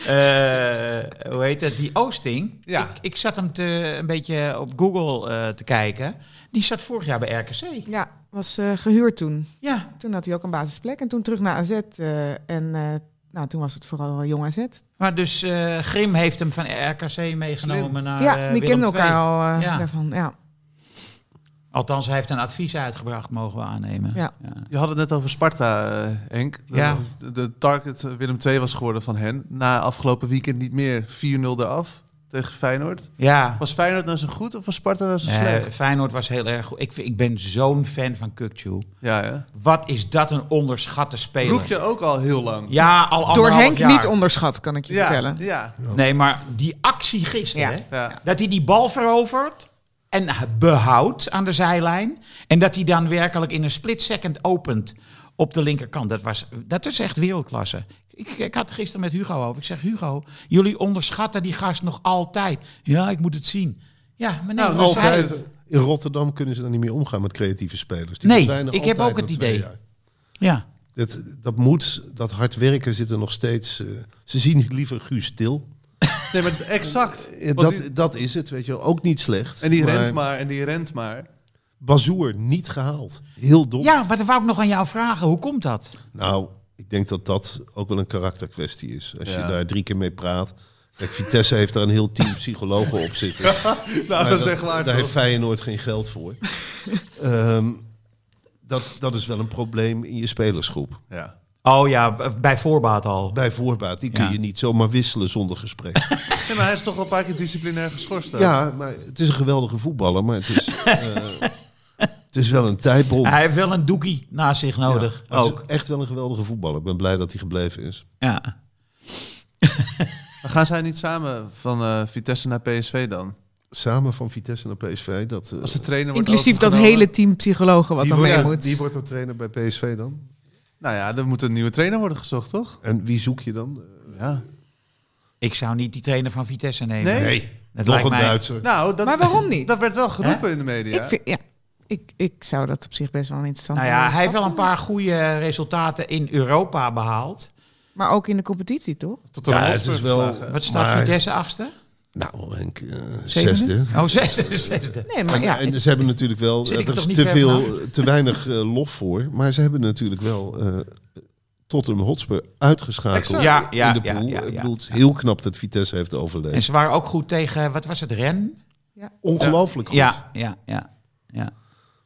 S4: eh, hoe heet het? Die Oosting.
S2: Ja.
S4: Ik, ik zat hem te, een beetje op Google eh, te kijken. Die zat vorig jaar bij RKC.
S5: Ja, was eh, gehuurd toen.
S4: Ja,
S5: Toen had hij ook een basisplek en toen terug naar AZ. eh, en eh, nou, toen was het vooral eh, jong AZ.
S4: maar dus eh, Grim heeft hem van RKC meegenomen naar
S5: ja,
S4: eh,
S5: die
S4: Willem
S5: kenden elkaar
S4: II.
S5: al eh,
S4: Ja.
S5: daarvan. Ja.
S4: Althans, hij heeft een advies uitgebracht, mogen we aannemen.
S5: Ja.
S2: Je had het net over Sparta, eh, Henk. De-
S4: Ja.
S2: De, de target eh, Willem II was geworden van hen. Na afgelopen weekend niet meer 4-0 eraf tegen Feyenoord.
S4: ja.
S2: Was Feyenoord nou zo goed of was Sparta nou zo
S4: Eh,
S2: slecht?
S4: Feyenoord was heel erg goed. Ik, vind- ik ben zo'n fan van Kukcu.
S2: Ja, ja.
S4: Wat is dat een onderschatte speler.
S2: Roep je ook al heel lang.
S4: Ja, al
S5: Door
S4: anderhalf
S5: Henk
S4: jaar.
S5: niet onderschat, kan ik je vertellen.
S2: ja. ja.
S4: Nee, maar die actie gisteren.
S5: Ja.
S4: hè?
S2: ja.
S4: Dat hij die bal verovert en behoudt aan de zijlijn. En dat hij dan werkelijk in een split second opent op de linkerkant. Dat, was, dat is echt wereldklasse. Ik, ik had het gisteren met Hugo over. Ik zeg, Hugo, jullie onderschatten die gast nog altijd. Ja, ik moet het zien. Ja, maar nee,
S6: Nou,
S4: dus hij-
S6: altijd. In Rotterdam kunnen ze dan niet meer omgaan met creatieve spelers.
S4: Nee,
S6: verdwijnen
S4: ik heb
S6: altijd
S4: ook het
S6: na twee
S4: idee.
S6: jaar.
S4: ja.
S6: Dat, dat moet, dat hard werken zit er nog steeds. eh, ze zien liever Guus stil.
S2: Nee, maar exact.
S6: Eh,
S2: Want
S6: Dat,
S2: die-
S6: dat is het, weet je wel. Ook niet slecht.
S2: en die
S6: maar
S2: rent maar, en die rent maar.
S6: Bazoer niet gehaald. Heel dom.
S4: ja, maar dan wou ik nog aan jou vragen. Hoe komt dat?
S6: Nou, ik denk dat dat ook wel een karakterkwestie is. Als
S2: Ja.
S6: je daar drie keer mee praat. Kijk, Vitesse heeft daar een heel team psychologen op zitten.
S2: Nou,
S6: Maar
S2: dat is
S6: dat-
S2: echt waar.
S6: Daar
S2: toch?
S6: heeft Feyenoord geen geld voor. Ehm, dat, dat is wel een probleem in je spelersgroep.
S2: Ja.
S4: Oh ja, b- bij voorbaat al.
S6: Bij voorbaat, die kun
S4: Ja.
S6: je niet zomaar wisselen zonder gesprek.
S2: Nee, maar hij is toch wel een paar keer disciplinair geschorst. ook.
S6: ja, maar het is een geweldige voetballer, maar het is, eh, het is wel een tijdbom.
S4: Hij heeft wel een doekie naast zich
S6: Ja,
S4: nodig.
S6: maar het is
S4: ook.
S6: Echt wel een geweldige voetballer. Ik ben blij dat hij gebleven is.
S4: Ja.
S2: Maar gaan zij niet samen van eh, Vitesse naar PSV dan?
S6: Samen van Vitesse naar PSV. Dat, eh,
S2: Als de trainer wordt
S5: Inclusief dat
S2: overgenomen-
S5: hele team psychologen wat
S6: die
S5: dan
S6: wordt-
S5: mee
S6: ja,
S5: moet.
S6: Die wordt dan trainer bij PSV dan?
S2: Nou ja, er moet een nieuwe trainer worden gezocht, toch?
S6: En wie zoek je dan? Eh,
S2: Ja.
S4: Ik zou niet die trainer van Vitesse nemen.
S2: Nee.
S4: Dat
S6: nog een
S4: lijkt mij-
S6: Duitser.
S2: Nou, dat,
S5: Maar waarom niet?
S2: Dat werd wel geroepen in de media.
S5: Ik, vind, ja, ik, ik zou dat op zich best wel een interessant
S4: Nou ja, hij heeft wel een paar goede resultaten in Europa behaald.
S5: Maar ook in de competitie, toch?
S2: Tot
S6: Ja, het is wel...
S4: Wat staat
S6: maar-
S4: Vitesse achtste?
S6: Nou, Henk, eh,
S4: Zevende?
S6: zesde.
S4: Oh, zesde, zesde.
S5: Nee, maar ja.
S6: en ze hebben natuurlijk wel, eh,
S4: Zit ik
S6: er
S4: toch
S6: is
S4: niet
S6: te,
S4: ver
S6: veel, te weinig eh, lof voor, maar ze hebben natuurlijk wel eh Tottenham Hotspur uitgeschakeld
S4: Exact. Ja, ja,
S6: in de
S4: ja,
S6: pool.
S4: ja, ja.
S6: Ik bedoel, het is heel knap dat Vitesse heeft overleefd.
S4: En ze waren ook goed tegen, wat was het, Ren?
S6: Ongelooflijk goed.
S4: Ja, ja, ja, ja.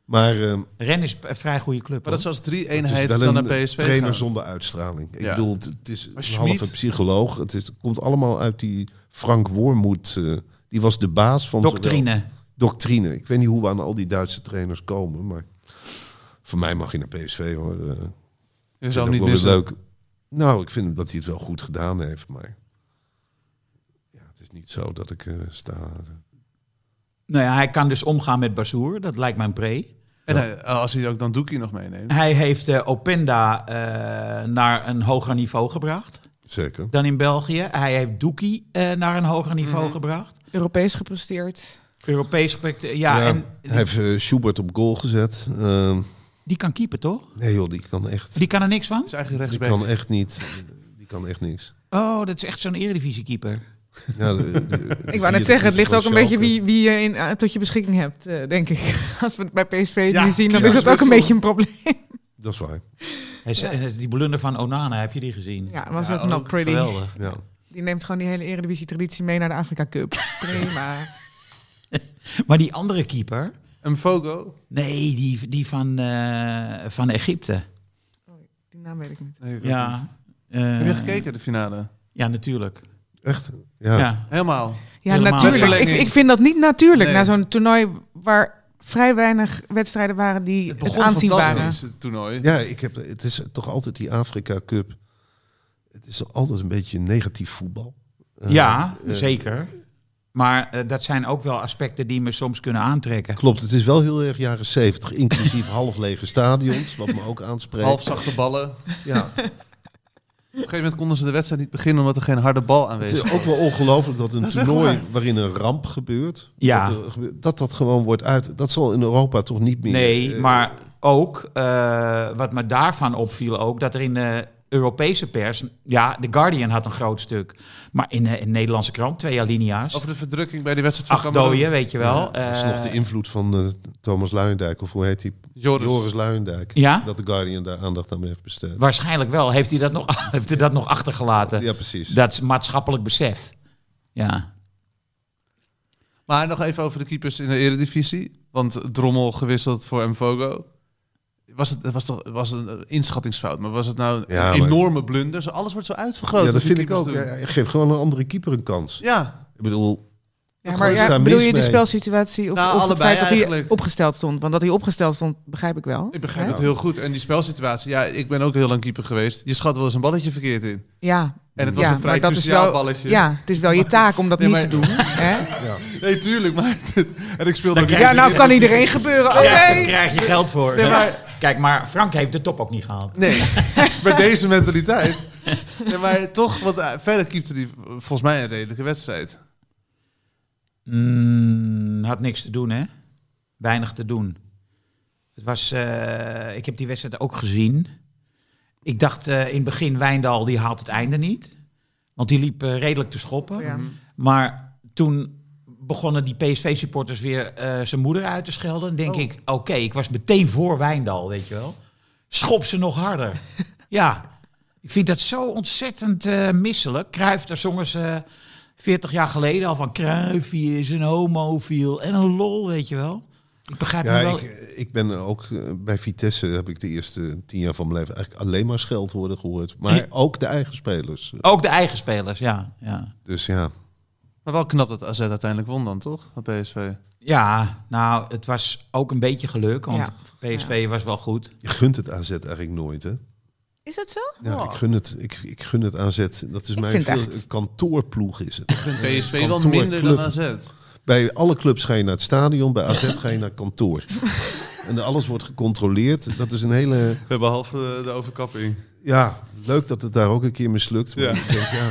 S6: Maar eh,
S4: Ren is een vrij goede club.
S2: Maar dat is als drie
S6: het is
S2: eenheid
S6: wel
S2: dan naar
S6: een
S2: PSV
S6: trainer
S2: gaan.
S6: zonder uitstraling. Ik
S2: Ja.
S6: bedoel, het, het is
S2: Maar
S6: een halve
S2: Schmid-
S6: psycholoog. Het, is, het komt allemaal uit die Frank Wormoed. eh, die was de baas van
S4: hoor.
S6: zowel-
S4: Doctrine.
S6: doctrine. Ik weet niet hoe we aan al die Duitse trainers komen, maar voor mij mag je naar PSV hoor. Eh, ik
S2: Je
S6: vind
S2: zou hem
S6: ook
S2: niet
S6: wel weer
S2: missen.
S6: leuk. Nou, ik vind dat hij het wel goed gedaan heeft, maar ja, het is niet zo dat ik eh, sta.
S4: Nou ja, hij kan dus omgaan met Bazoer. Dat lijkt mij een pre.
S2: En hij- als hij ook dan Doekie nog meeneemt.
S4: Hij heeft eh, Openda eh, naar een hoger niveau gebracht
S6: Zeker.
S4: dan in België. Hij heeft Doekie eh, naar een hoger niveau gebracht.
S5: Europees gepresteerd.
S4: Europees spect- Ja, en
S6: hij heeft eh, Schubert op goal gezet. Eh,
S4: die kan keeper, toch?
S6: nee joh, die kan echt.
S4: Die kan er niks van?
S2: Is eigenlijk
S6: Die
S2: rechtsback.
S6: kan echt niet. Die kan echt niks.
S4: Oh, dat is echt zo'n eredivisiekeeper.
S6: Ja, de- de- de
S5: Ik
S6: vierde
S5: wou net zeggen, het
S6: keeper
S5: ligt ook een
S6: van
S5: beetje
S6: Schalke.
S5: wie, wie je in, eh, tot je beschikking hebt, eh, denk ik. Als we het bij PSV
S4: Ja,
S5: nu zien, dan
S6: ja,
S5: is dat ook een
S6: Wissel.
S5: beetje een probleem.
S6: Dat is waar.
S4: Hij is- eh, Die blunder van Onana, heb je die gezien?
S5: Ja, was
S2: Ja, oh,
S5: ook not
S2: ook
S5: pretty.
S4: Geweldig.
S6: Ja.
S5: Die neemt gewoon die hele Eredivisie-traditie mee naar de Afrika Cup. Prima.
S4: Maar die andere keeper,
S2: Een Fogo?
S4: nee, die, die van, eh, van Egypte.
S5: Die naam weet ik niet.
S2: Nee, ik ook niet.
S4: Ja.
S2: Heb je
S4: eh,
S2: gekeken, de finale?
S4: Ja, natuurlijk.
S6: Echt?
S4: Ja.
S6: Ja.
S2: Helemaal.
S5: Ja,
S4: Helemaal
S5: natuurlijk.
S2: niet.
S5: Ik, ik vind dat niet natuurlijk
S2: Nee.
S5: na zo'n toernooi waar vrij weinig wedstrijden waren die
S2: Het
S5: het,
S2: begon
S5: aanzien waren.
S2: fantastisch, het toernooi.
S6: Ja, ik heb, het is toch altijd die Afrika Cup. Het is altijd een beetje negatief voetbal. Eh,
S4: ja,
S6: eh,
S4: zeker. Maar eh, dat zijn ook wel aspecten die me soms kunnen aantrekken.
S6: Klopt, het is wel heel erg jaren zeventig, inclusief half lege stadions, wat me ook aanspreekt.
S2: Halfzachte ballen.
S6: Ja,
S2: Op een gegeven moment konden ze de wedstrijd niet beginnen omdat er geen harde bal
S6: het
S2: aanwezig
S6: is
S2: was.
S6: ook wel ongelooflijk dat een
S2: Dat is echt
S6: toernooi
S2: waar.
S6: waarin een ramp gebeurt,
S4: Ja.
S6: dat, er gebe- dat dat gewoon wordt uit. Dat zal in Europa toch niet meer.
S4: Nee,
S6: eh,
S4: maar ook eh, wat me daarvan opviel ook, dat er in de Europese pers, ja, The Guardian had een groot stuk, maar in de in Nederlandse krant twee alinea's,
S2: Over de verdrukking bij die wedstrijd van
S4: acht
S2: Cameroen.
S4: dooien, weet je wel.
S6: Dat is
S4: Eh,
S6: nog de invloed van eh, Thomas Luijendijk, of hoe heet hij?
S2: Joris.
S6: Joris Luijendijk.
S4: Ja?
S6: Dat de Guardian daar aandacht aan heeft besteed.
S4: waarschijnlijk wel. Heeft hij dat nog, heeft hij dat nog achtergelaten?
S6: Ja, precies.
S4: Dat is maatschappelijk besef. Ja.
S2: Maar nog even over de keepers in de eredivisie. Want Drommel gewisseld voor Mvogo. Was het was toch was een inschattingsfout, maar was het nou een
S6: Ja, maar-
S2: enorme blunder? Zo, alles wordt zo uitvergroot.
S6: ja,
S2: wat
S6: dat
S2: die
S6: vind ik
S2: keepers
S6: ook.
S2: doen.
S6: Ja, geef gewoon een andere keeper een kans.
S2: Ja,
S6: Ik bedoel,
S5: Ja,
S6: Gewoon
S5: maar ja,
S6: staan
S5: bedoel
S6: mis
S5: je de
S6: mee.
S5: spelsituatie of,
S2: Nou,
S5: of het
S2: allebei
S5: feit dat hij
S2: eigenlijk.
S5: opgesteld stond? Want dat hij opgesteld stond, begrijp ik wel.
S2: ik begrijp
S5: Hè?
S2: het heel goed. En die spelsituatie, ja, ik ben ook heel lang keeper geweest. Je schat wel eens een balletje verkeerd in.
S5: Ja,
S2: En het was
S5: ja,
S2: een vrij
S5: maar dat is
S2: cruciaal
S5: wel-
S2: balletje.
S5: Ja, het is wel je taak om dat
S2: Nee,
S5: niet
S2: maar-
S5: te doen. Hè?
S2: Nee, tuurlijk, maar en ik speelde ook
S5: Ja, nou kan iedereen gebeuren. Oké.
S4: Daar krijg je geld voor.
S2: Nee, maar-
S4: Kijk, maar Frank heeft de top ook niet gehaald.
S2: Nee, met deze mentaliteit. Nee, maar toch, want eh, verder keepte hij eh, volgens mij een redelijke wedstrijd.
S4: Mm, had niks te doen, hè? Weinig te doen. Het was, eh, ik heb die wedstrijd ook gezien. Ik dacht eh, in het begin, Wijndal die haalt het einde niet. Want die liep eh, redelijk te schoppen.
S5: Ja.
S4: Maar toen begonnen die PSV-supporters weer eh, zijn moeder uit te schelden. Dan denk ik, oké, ik was meteen voor Wijndal, weet je wel. Schop ze nog harder. ja, ik vind dat zo ontzettend eh, misselijk. Cruijff, daar zongen ze eh, 40 jaar geleden al van... Cruijff hier is een homofiel en een lol, weet je wel. Ik begrijp nu
S6: Ja,
S4: wel...
S6: ik, ik ben ook eh, bij Vitesse heb ik de eerste tien jaar van mijn leven eigenlijk alleen maar scheldwoorden gehoord. Maar ook de eigen spelers.
S4: Ook de eigen spelers, ja. Ja,
S6: Dus ja,
S2: Maar wel knap dat AZ uiteindelijk won dan, toch? Van PSV.
S4: ja nou, het was ook een beetje geluk, want
S5: Ja.
S4: PSV was wel goed.
S6: je gunt het AZ eigenlijk nooit, hè?
S5: Is dat zo? Oh.
S6: Ja,
S4: Ah.
S6: ik gun het. Ik, ik gun het AZ. Dat is mijn
S5: vind
S6: veel-
S5: echt-
S6: een kantoorploeg is het.
S2: Vindt PSV wel
S6: kantoor,
S2: minder
S6: club.
S2: dan AZ.
S6: Bij alle clubs ga je naar het stadion, bij AZ ga je naar kantoor. En alles wordt gecontroleerd. Dat is een hele. eh,
S2: Behalve de overkapping.
S6: Ja, leuk dat het daar ook een keer mislukt. Maar
S2: Ja.
S6: ik denk, ja,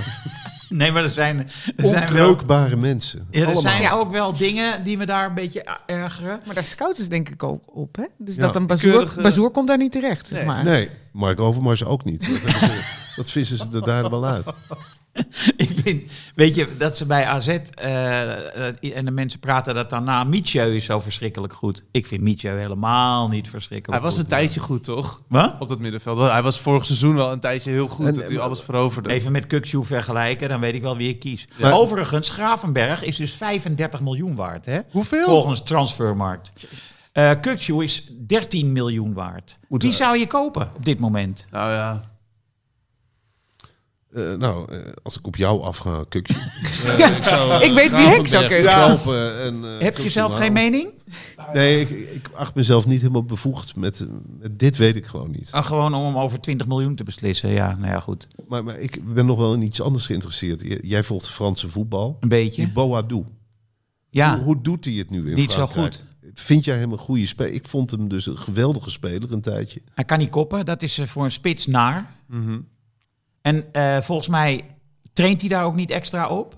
S4: Nee, maar er zijn, er zijn wel...
S6: onbreukbare mensen.
S4: Ja, er
S6: Allemaal.
S4: zijn ook wel dingen die me daar een beetje a- ergeren.
S5: Maar daar scouten ze denk ik ook op. Hè? Dus
S6: Ja,
S5: dat een
S2: keurige-
S5: Ah. bazoer, bazoer komt daar niet terecht. Zeg maar.
S6: Nee, Mark Overmars ook niet. Dat hebben ze Dat vissen ze er daar wel uit.
S4: ik vind, weet je, dat ze bij AZ eh, eh, en de mensen praten dat daarna Mietje is zo verschrikkelijk goed. Ik vind Mietje helemaal niet
S2: Hij
S4: verschrikkelijk.
S2: was een
S4: goed.
S2: tijdje goed, toch?
S4: Wat?
S2: Op dat middenveld. Hij was vorig seizoen wel een tijdje heel goed.
S6: En- eh,
S2: dat hij alles veroverde.
S4: Even met Kukju vergelijken, dan weet ik wel wie ik kies.
S6: Ja.
S4: Overigens, Gravenberg is dus 35 miljoen waard, hè?
S2: Hoeveel?
S4: Volgens transfermarkt. Eh Kukju is 13 miljoen waard.
S2: Moet
S4: die
S2: wel.
S4: zou je kopen op dit moment.
S2: Nou ja.
S6: Eh, nou, eh, als ik op jou afga, kukje. Eh,
S5: ik weet wie ik zou kunnen.
S4: Heb je zelf geen mening?
S6: Nee, ik, ik acht mezelf niet helemaal bevoegd met, eh, met dit weet ik gewoon niet.
S4: Ah, gewoon om hem over 20 miljoen te beslissen. Ja, nou ja, goed.
S6: Maar, maar ik ben nog wel in iets anders geïnteresseerd. J- Jij volgt Franse voetbal.
S4: Een beetje.
S6: Die Boadou. Hoe,
S4: Ja,
S6: hoe doet hij het nu in
S4: Niet zo
S6: Frankrijk? Vind jij hem een goede speler? Ik vond hem dus een geweldige speler een tijdje.
S4: hij kan niet koppen. Dat is eh, voor een spits naar.
S6: Mhm.
S4: En eh, volgens mij traint hij daar ook niet extra op.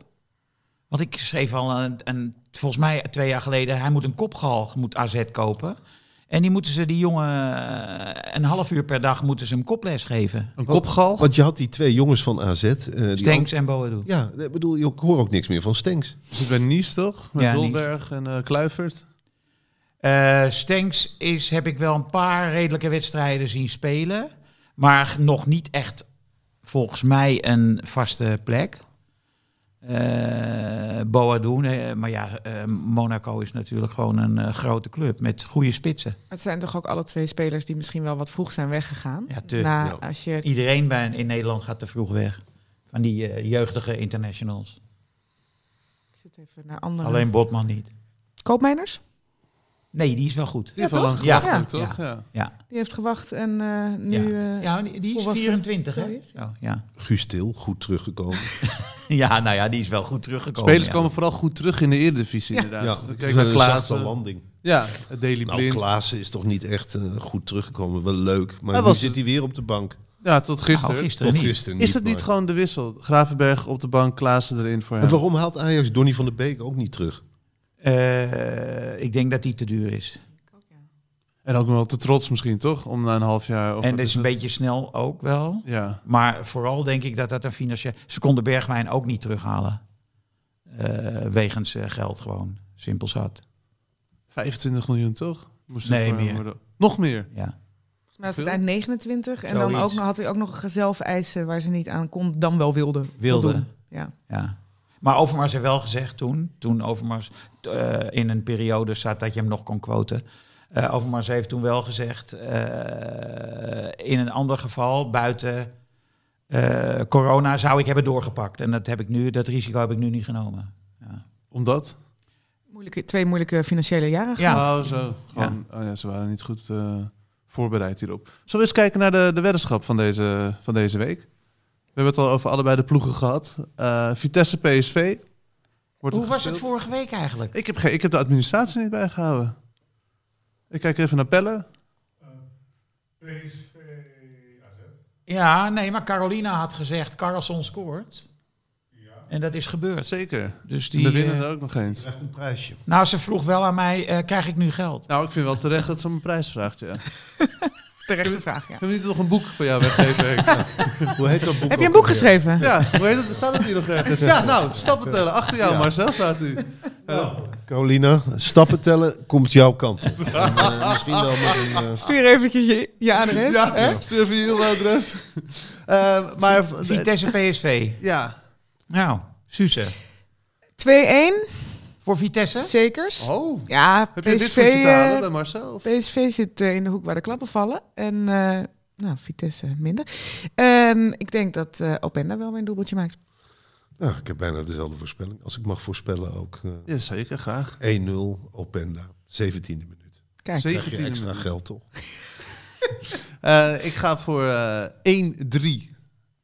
S4: Want ik schreef al, een, een, volgens mij twee jaar geleden, hij moet een kopgal, moet AZ kopen. En die moeten ze die jongen eh, een half uur per dag moeten ze hem koples geven.
S2: Een kopgal.
S6: Want je had die twee jongens van AZ. eh, die
S4: Stenks en Boadu.
S6: ook- ja, ik bedoel, ik hoor ook niks meer van Stenks.
S2: Zit bij Nice, toch? Met
S4: Ja, Nice.
S2: Dolberg en eh, Kluivert.
S4: Eh Stenks is, heb ik wel een paar redelijke wedstrijden zien spelen. Maar nog niet echt, volgens mij, een vaste plek. Eh Boadoen, eh, maar ja, eh, Monaco is natuurlijk gewoon een eh, grote club met goede spitsen.
S5: Het zijn toch ook alle twee spelers die misschien wel wat vroeg zijn weggegaan.
S4: Ja, te-
S5: Na,
S6: ja.
S5: als je
S4: Iedereen bij, in Nederland gaat te vroeg weg. Van die eh, jeugdige internationals.
S5: Ik zit even naar andere.
S4: Alleen Botman niet.
S5: Koopmijners,
S4: Nee, die is wel goed.
S2: Die heeft wel lang
S4: Ja.
S2: gewacht, ook,
S4: Ja.
S2: toch? Ja.
S4: Ja,
S5: die heeft gewacht en eh, nu... eh,
S4: ja die, die is
S5: volwassen.
S4: 24, hè?
S5: Zoiets.
S4: Zo, ja.
S6: Guus Til, goed teruggekomen.
S4: ja, nou ja, die is wel goed teruggekomen.
S2: Spelers
S4: ja.
S2: komen vooral goed terug in de Eredivisie, inderdaad.
S6: ja,
S2: We
S6: kijk
S2: kijken naar
S6: een zachte
S2: Klaassen.
S6: landing.
S2: Ja, Daily
S6: Nou,
S2: Blind.
S6: Klaassen is toch niet echt eh, goed teruggekomen. Wel leuk. Maar
S2: Hij
S6: nu
S2: was-
S6: zit hij weer op de bank.
S2: Ja, tot gisteren.
S4: Nou, gisteren
S6: Tot
S4: niet.
S6: gisteren
S2: Is dat niet
S6: maar-
S2: gewoon de wissel? Gravenberg op de bank, Klaassen erin voor hem.
S6: En waarom haalt Ajax Donny van der Beek ook niet terug?
S4: Eh, ik denk dat die te duur is.
S2: En ook nog wel te trots misschien, toch? Om na een half jaar... Of
S4: en
S2: wat
S4: dat is een
S2: het?
S4: beetje snel ook wel.
S2: Ja.
S4: Maar vooral denk ik dat dat een financieel... Ze konden Bergwijn ook niet terughalen. Eh, wegens eh, geld gewoon. Simpel zat.
S2: 25 miljoen, toch? Moest er
S4: Nee,
S2: voor hem
S4: meer.
S2: worden. Nog meer?
S4: Ja.
S5: Volgens mij was het eind 29 en dan
S4: Zoiets.
S5: ook, nog- had hij ook nog zelf eisen waar ze niet aan kon, dan wel wilde.
S4: Wilde.
S5: voldoen. Ja.
S4: ja. Maar Overmars heeft wel gezegd toen... Toen Overmars eh, in een periode zat dat je hem nog kon quoten... eh, Overmars heeft toen wel gezegd... eh, in een ander geval, buiten eh, corona, zou ik hebben doorgepakt. En dat, heb ik nu, dat risico heb ik nu niet genomen.
S2: Omdat?
S5: Moeilijke, twee moeilijke financiële jaren.
S4: Ja.
S2: Oh, zo. Gewoon, Oh, ja, ze waren niet goed eh, voorbereid hierop. Zullen we eens kijken naar de, de weddenschap van deze, van deze week? We hebben het al over allebei de ploegen gehad. Eh, Vitesse PSV. Wordt
S4: Hoe
S2: er
S4: was
S2: gespeeld.
S4: het vorige week eigenlijk?
S2: Ik heb, geen, ik heb de administratie niet bijgehouden. Ik kijk even naar Pelle.
S4: Ja, nee, maar Carolina had gezegd, Carlson scoort. En dat is gebeurd.
S2: Zeker.
S4: Dus
S2: de
S4: die,
S2: winnen
S4: eh,
S2: er ook nog eens.
S6: Echt een prijsje.
S4: nou, ze vroeg wel aan mij, eh, krijg ik nu geld?
S2: Nou, ik vind wel terecht dat ze om een prijs vraagt, ja.
S5: Terechte vraag, ja.
S2: Kunnen we niet nog een boek voor jou weggeven? Henk?
S6: Hoe heet dat boek?
S5: Heb je
S6: ook
S5: een
S6: alweer?
S5: boek geschreven?
S2: ja, hoe heet het? Bestaat het hier nog ergens? Ja, nou, stappen tellen. Achter jou, Marcel, staat u.
S6: Carolina, stappen tellen komt jouw kant op. En, eh, misschien wel met een... eh,
S5: Stuur eventjes je, je adres.
S2: Ja,
S5: hè?
S2: stuur even je e-mailadres. Eh, maar...
S4: Vitesse PSV.
S2: Ja.
S4: Nou, Suze.
S5: 2-1,
S4: Voor Vitesse?
S5: zekers.
S2: Oh.
S5: Ja,
S2: Heb je dit
S5: PSV,
S2: voor je te halen
S5: eh,
S2: bij Marcel? Of-
S5: PSV zit eh, in de hoek waar de klappen vallen. En eh, nou, Vitesse minder. En ik denk dat eh Openda wel weer een doelpuntje maakt.
S6: nou, ik heb bijna dezelfde voorspelling. Als ik mag voorspellen ook. eh,
S2: Ja, zeker, graag.
S6: 1-0 Openda, 17e minuut.
S5: Kijk,
S6: Krijg je
S2: 17
S6: extra
S2: minuten.
S6: geld toch?
S2: Eh, ik ga voor eh, 1-3.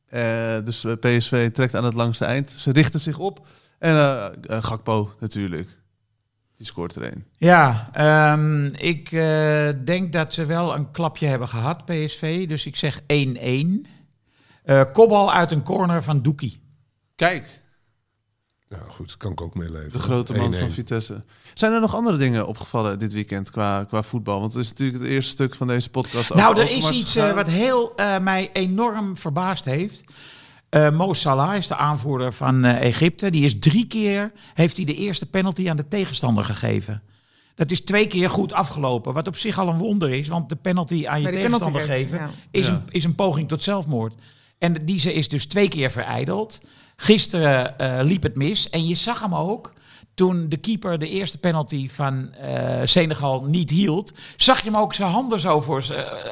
S2: Eh, dus eh, PSV trekt aan het langste eind. Ze richten zich op. En eh, eh, Gakpo natuurlijk. Die scoort er één.
S4: Ja, ehm, ik eh, denk dat ze wel een klapje hebben gehad, PSV. Dus ik zeg 1-1. Eh kobbal uit een corner van Doekie.
S2: Kijk.
S6: Ja, Nou, goed, kan ik ook meeleven.
S2: De grote man van
S6: 1-1.
S2: Vitesse. Zijn er nog andere dingen opgevallen dit weekend qua, qua voetbal? Want het is natuurlijk het eerste stuk van deze podcast.
S4: Nou,
S2: over
S4: er is
S2: Overmars
S4: iets
S2: gegaan.
S4: eh, wat heel, eh, mij enorm verbaasd heeft. Eh, Mo Salah is de aanvoerder van eh, Egypte. Die is drie keer heeft hij de eerste penalty aan de tegenstander gegeven. Dat is twee keer goed afgelopen. Wat op zich al een wonder is, want de penalty aan je
S5: Bij de penalty
S4: tegenstander geven
S5: ja.
S4: is,
S2: Ja.
S4: een, is een poging tot zelfmoord. En die ze is dus twee keer verijdeld. Gisteren eh, liep het mis. En je zag hem ook. Toen de keeper de eerste penalty van eh, Senegal niet hield, zag je hem ook zijn handen zo voor zijn eh,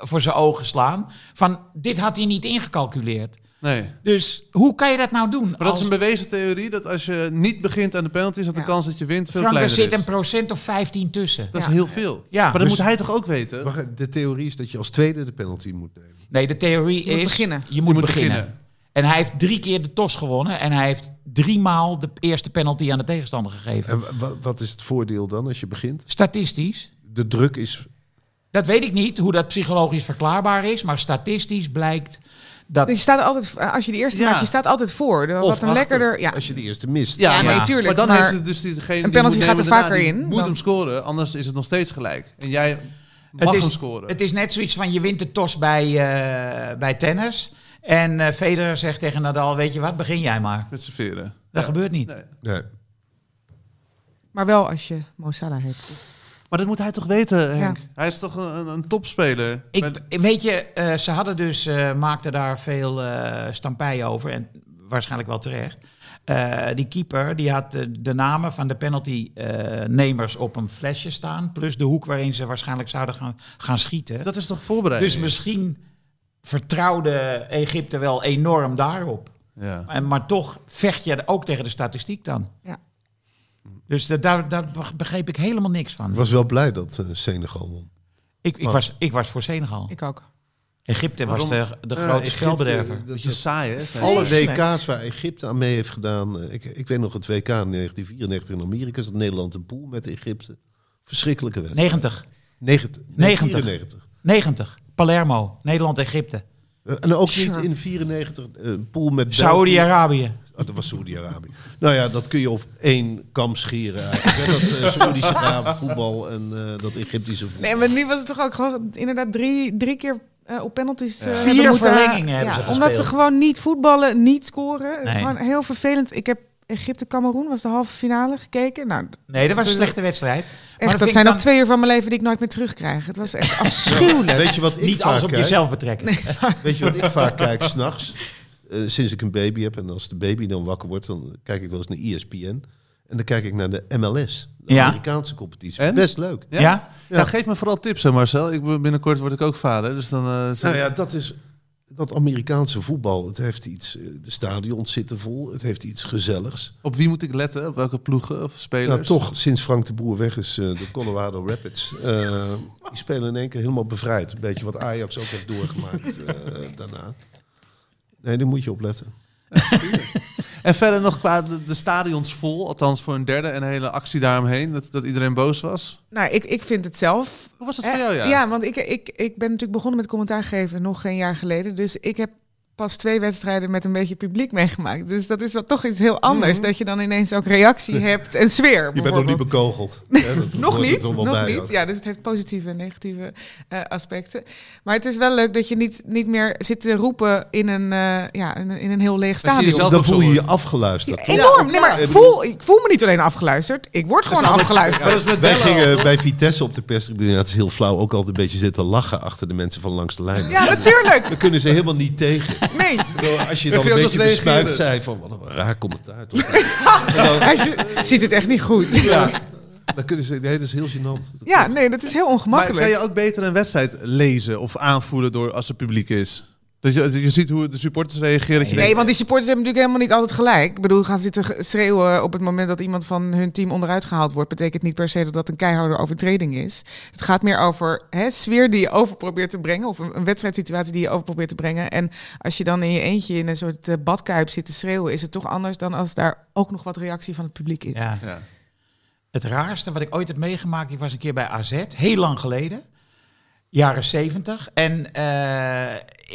S4: voor zijn ogen slaan. Van dit had hij niet ingecalculeerd.
S2: Nee. Maar
S4: Dus hoe kan je dat nou doen?
S2: dat is een bewezen theorie dat als je niet begint aan de penalties, dat de
S5: Ja.
S2: kans dat je wint veel
S4: Frank, er
S2: kleiner
S4: zit
S2: is.
S4: een procent of 15 tussen.
S2: Dat is
S5: Ja.
S2: heel veel.
S4: Ja.
S2: Maar dat
S4: Dus-
S2: moet hij toch ook weten?
S6: Wacht, even, de theorie is dat je als tweede de penalty moet nemen.
S4: Nee, de theorie
S5: Je moet
S4: is:
S5: beginnen.
S4: je moet, beginnen. En hij heeft drie keer de tos gewonnen. En hij heeft driemaal de eerste penalty aan de tegenstander gegeven.
S6: En wa- wa- wat is het voordeel dan als je begint?
S4: Statistisch.
S6: De druk is
S4: Dat weet ik niet hoe dat psychologisch verklaarbaar is. Maar statistisch blijkt dat.
S5: Dus je staat altijd, eh, als je de eerste
S2: Ja.
S5: maakt, je staat altijd voor. De-
S2: Of
S5: Wat een
S2: achter,
S5: lekkerder. Ja,
S6: als je de eerste mist.
S2: Ja,
S5: Ja,
S2: maar,
S5: nee, tuurlijk,
S2: maar dan
S5: maar
S2: heeft het dus die, degene
S5: een
S2: die
S5: penalty
S2: moet
S5: gaat
S2: nemen
S5: er
S2: daarna,
S5: vaker
S2: die
S5: in
S2: Moet
S5: dan-
S2: hem scoren, anders is het nog steeds gelijk. En jij mag
S4: het,
S2: hem
S4: is,
S2: scoren.
S4: het is net zoiets van: je wint de tos bij, eh, bij tennis. En eh, Federer zegt tegen Nadal: Weet je wat, begin jij maar.
S2: Met z'n veren.
S4: Dat gebeurt niet.
S2: Nee.
S6: Nee.
S5: maar wel als je Mo Salah hebt.
S2: Maar dat moet hij toch weten, Henk?
S5: Ja.
S2: Hij is toch een, een- een topspeler?
S4: Ik,
S2: Maar-
S4: weet je, eh, ze hadden dus, eh, maakten daar veel eh stampij over. En waarschijnlijk wel terecht. Eh, die keeper die had eh, de namen van de penalty-nemers op een flesje staan. Plus de hoek waarin ze waarschijnlijk zouden gaan, gaan schieten.
S2: dat is toch voorbereiding?
S4: dus misschien vertrouwde Egypte wel enorm daarop.
S2: ja.
S4: En, maar toch vecht je ook tegen de statistiek dan.
S5: Ja.
S4: Dus da- daar, daar begreep ik helemaal niks
S6: Ik
S4: van.
S6: was wel blij dat eh, Senegal won.
S4: Ik, ik, was, ik was voor Senegal.
S5: Ik ook.
S4: Egypte was
S2: Waarom?
S4: de, de
S6: Ja,
S4: grote
S6: Eh, Egypte,
S4: spelbederver.
S6: dat-
S2: Beetje
S6: dat-
S2: saai, hè? Zijn-
S6: alle
S5: Vreselijk.
S6: WK's waar Egypte aan mee heeft gedaan. eh, Ik, ik weet nog het WK in 1994 in Amerika. Zat Nederland een pool met Egypte. Verschrikkelijke wedstrijd.
S4: 90.
S6: 90.
S4: 90.
S6: 94.
S4: 90. Palermo, Nederland-Egypte.
S6: Eh, En ook
S5: Sure.
S6: niet in 94 een pool met België.
S4: Saoedi-Arabië.
S6: Oh, dat was Saoedi-Arabië. nou ja, dat kun je op één kam scheren. eigenlijk, hè. Dat eh, Saoedische Arab voetbal en eh, dat Egyptische voetbal.
S5: Nee, maar nu was het toch ook gewoon inderdaad drie, drie keer eh, op penalties. eh,
S4: Vier
S5: hadden moeten-
S4: verlengingen hebben ze
S5: Omdat ze
S4: gespeeld.
S5: gewoon niet voetballen, niet scoren.
S4: Nee.
S5: Gewoon heel vervelend. Ik heb Egypte-Cameroen, was de halve finale gekeken. Nou,
S4: Nee, dat was een slechte wedstrijd.
S5: echt, dat,
S4: vind ik
S5: zijn
S4: dan
S5: nog twee uur van mijn leven die ik nooit meer terugkrijg. Het was echt afschuwelijk.
S6: Weet je wat ik
S4: Niet
S6: vaak
S4: alles op
S6: kijk?
S4: jezelf betrekken.
S6: Weet je wat ik vaak kijk s'nachts? nachts Eh, sinds ik een baby heb en als de baby dan wakker wordt, dan kijk ik wel eens naar E ESPN. En dan kijk ik naar de MLS, de
S4: Ja.
S6: Amerikaanse competitie.
S2: En?
S6: Best leuk.
S2: Ja?
S4: Ja?
S2: Ja, geef me vooral tips, hè, Marcel. Ik, ben- binnenkort word ik ook vader, dus dan... eh, zit-
S6: Nou ja, dat is dat Amerikaanse voetbal. Het heeft iets, eh, de stadions zitten vol, het heeft iets gezelligs.
S2: Op wie moet ik letten? Op welke ploegen of spelers?
S6: Nou, toch, sinds Frank de Boer weg is, eh, de Colorado Rapids, eh, die spelen in één keer helemaal bevrijd. Een beetje wat Ajax ook heeft doorgemaakt eh, daarna. Nee, daar moet je op letten.
S2: En verder nog qua de, de stadions vol, althans voor een derde en een hele actie daaromheen, dat, dat iedereen boos was.
S5: Nou, ik, ik vind het zelf
S2: Hoe was dat
S5: Eh,
S2: voor jou, ja?
S5: want ik, ik, ik ben natuurlijk begonnen met commentaar geven nog geen jaar geleden. Dus ik heb pas twee wedstrijden met een beetje publiek meegemaakt. Dus dat is wel toch iets heel anders.
S4: Mhm.
S5: Dat je dan ineens ook reactie hebt en sfeer.
S6: Je bent nog niet
S5: bijvoorbeeld.
S6: bekogeld. hè? Dat
S5: nog
S6: hoort er
S5: niet,
S6: toch wel
S5: nog
S6: bij
S5: niet.
S6: ook.
S5: Ja, dus het heeft positieve en negatieve eh, aspecten. Maar het is wel leuk dat je niet, niet meer zit te roepen in een, eh, ja, in, een- in een heel leeg
S2: je
S5: stadion.
S2: jezelf-
S6: Dan voel je je
S2: Zelfbezorgd.
S6: afgeluisterd. toch?
S5: Enorm. Nee, maar
S6: Ja,
S5: ik
S6: ik bedoel-
S5: voel, ik voel me niet alleen afgeluisterd. Ik word gewoon
S2: Maar
S5: afgeluisterd.
S2: dat is met
S6: Wij
S2: bellen al,
S6: gingen
S2: toch?
S6: bij Vitesse op de perstribune, dat is heel flauw, ook altijd een beetje zitten lachen achter de mensen van langs de lijn.
S5: Ja, natuurlijk.
S6: Daar kunnen ze helemaal niet tegen.
S5: Nee.
S6: Terwijl Als je
S2: Kun
S6: dan
S2: je
S6: een
S2: ook
S6: beetje
S2: nog reageren?
S6: bespuikt zei van, wat een raar commentaar toch.
S5: Hij zi- ziet het echt niet goed.
S6: Ja, dan kunnen ze, nee, dat is heel gênant.
S5: Ja, nee, dat is heel
S2: Maar kan
S5: ongemakkelijk.
S2: je ook beter een wedstrijd lezen of aanvoelen door als er publiek is? Dat je, dat je ziet hoe de supporters reageren. Dat je
S5: Nee,
S2: denkt,
S5: want die supporters hebben natuurlijk helemaal niet altijd gelijk. Ik bedoel, gaan zitten ge- schreeuwen op het moment dat iemand van hun team onderuit gehaald wordt. Betekent niet per se dat dat een keiharde overtreding is. Het gaat meer over hè, sfeer die je over probeert te brengen. Of een, een wedstrijdsituatie die je over probeert te brengen. En als je dan in je eentje in een soort eh, badkuip zit te schreeuwen, is het toch anders dan als daar ook nog wat reactie van het publiek is.
S4: Ja.
S2: Ja.
S4: Het raarste wat ik ooit heb meegemaakt, ik was een keer bij AZ, heel lang geleden. jaren zeventig. En eh,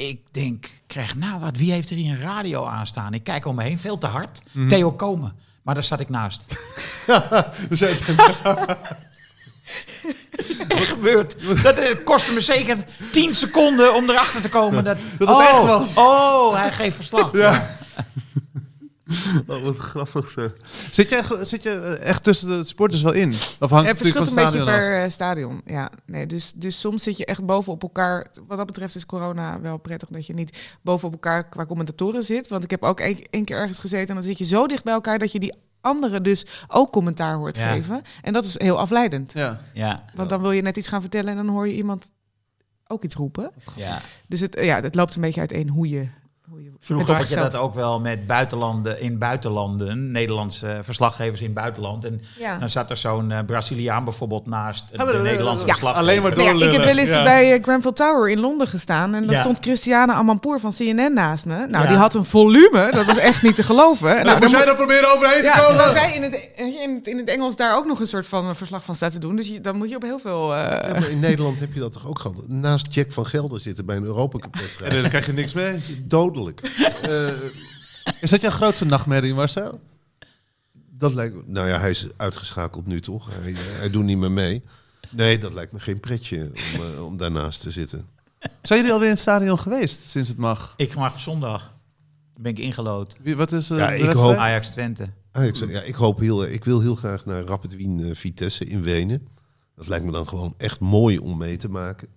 S4: ik denk, krijg nou wat, wie heeft er hier een radio aan staan? Ik kijk om me heen, veel te hard.
S2: Mhm.
S4: Theo Komen. Maar daar zat ik naast.
S2: We zijn-
S4: Echt gebeurd. Dat eh, kostte me zeker 10 seconden om erachter te komen dat,
S2: Dat het
S4: oh,
S2: echt was.
S4: Oh, hij geeft verslag.
S2: Ja.
S6: Nou,
S2: Oh, wat grappig zeg. Zit jij, ge- zit je eh, echt tussen de sporters wel in? Of hangt
S5: Er
S2: het natuurlijk van
S5: verschilt
S2: het
S5: een beetje
S2: stadion af?
S5: per eh, stadion. Ja, nee, dus, dus soms zit je echt boven op elkaar. Wat dat betreft is corona wel prettig dat je niet boven op elkaar qua commentatoren zit. Want ik heb ook één één keer ergens gezeten en dan zit je zo dicht bij elkaar dat je die anderen dus ook commentaar hoort
S4: Ja.
S5: geven. En dat is heel afleidend.
S2: Ja.
S4: Ja,
S5: Want dan wil je net iets gaan vertellen en dan hoor je iemand ook iets roepen.
S4: ja.
S5: Dus het, eh, ja, het loopt een beetje uiteen hoe je... Hoe je
S4: Vroeger had je dat
S5: opgesteld.
S4: ook wel met buitenlanden, in buitenlanden, Nederlandse verslaggevers in het buitenland. En
S5: Ja.
S4: dan zat er zo'n eh, Braziliaan bijvoorbeeld naast
S2: Ah, maar
S4: de
S2: dat-
S4: Nederlandse
S2: ja,
S4: verslaggever.
S2: alleen maar
S5: Nou ja, ik heb
S2: doorlullen.
S5: wel eens
S2: Ja.
S5: bij eh, Grenfell Tower in Londen gestaan. En daar
S4: Ja.
S5: stond Christiane Amanpour van CNN naast me. Nou,
S4: Ja.
S5: die had een volume. Dat was echt niet te geloven. Nou,
S2: Nou,
S5: dan
S2: moest jij daar proberen overheen
S5: moet- ja,
S2: te komen?
S5: terwijl zij in het, eh, in, het, in het Engels daar ook nog een soort van eh, verslag van staat te doen. Dus je, dan moet je op heel veel... eh,
S6: Ja, maar in Nederland heb je dat toch ook gehad? Naast Jack van Gelder zitten bij een Europa Cup
S2: En
S6: wedstrijd.
S2: dan krijg je niks mee.
S6: Dodelijk. Eh,
S2: Is dat jouw grootste nachtmerrie, Marcel?
S6: dat lijkt me- Nou ja, hij is uitgeschakeld nu toch? Hij, eh, hij doet niet meer mee. Nee, dat lijkt me geen pretje om, eh, om daarnaast te zitten.
S2: Zijn jullie alweer in het stadion geweest sinds het mag?
S4: Ik mag zondag. Dan ben ik ingelood.
S2: Wie, wat is eh,
S6: Ja,
S2: de
S6: ik
S2: wedstrijd?
S6: hoop-
S4: Ajax Twente.
S6: Ah, ik, zou- ja, ik, hoop heel, eh, ik wil heel graag naar Rapid Wien eh, Vitesse in Wenen. Dat lijkt me dan gewoon echt mooi om mee te maken.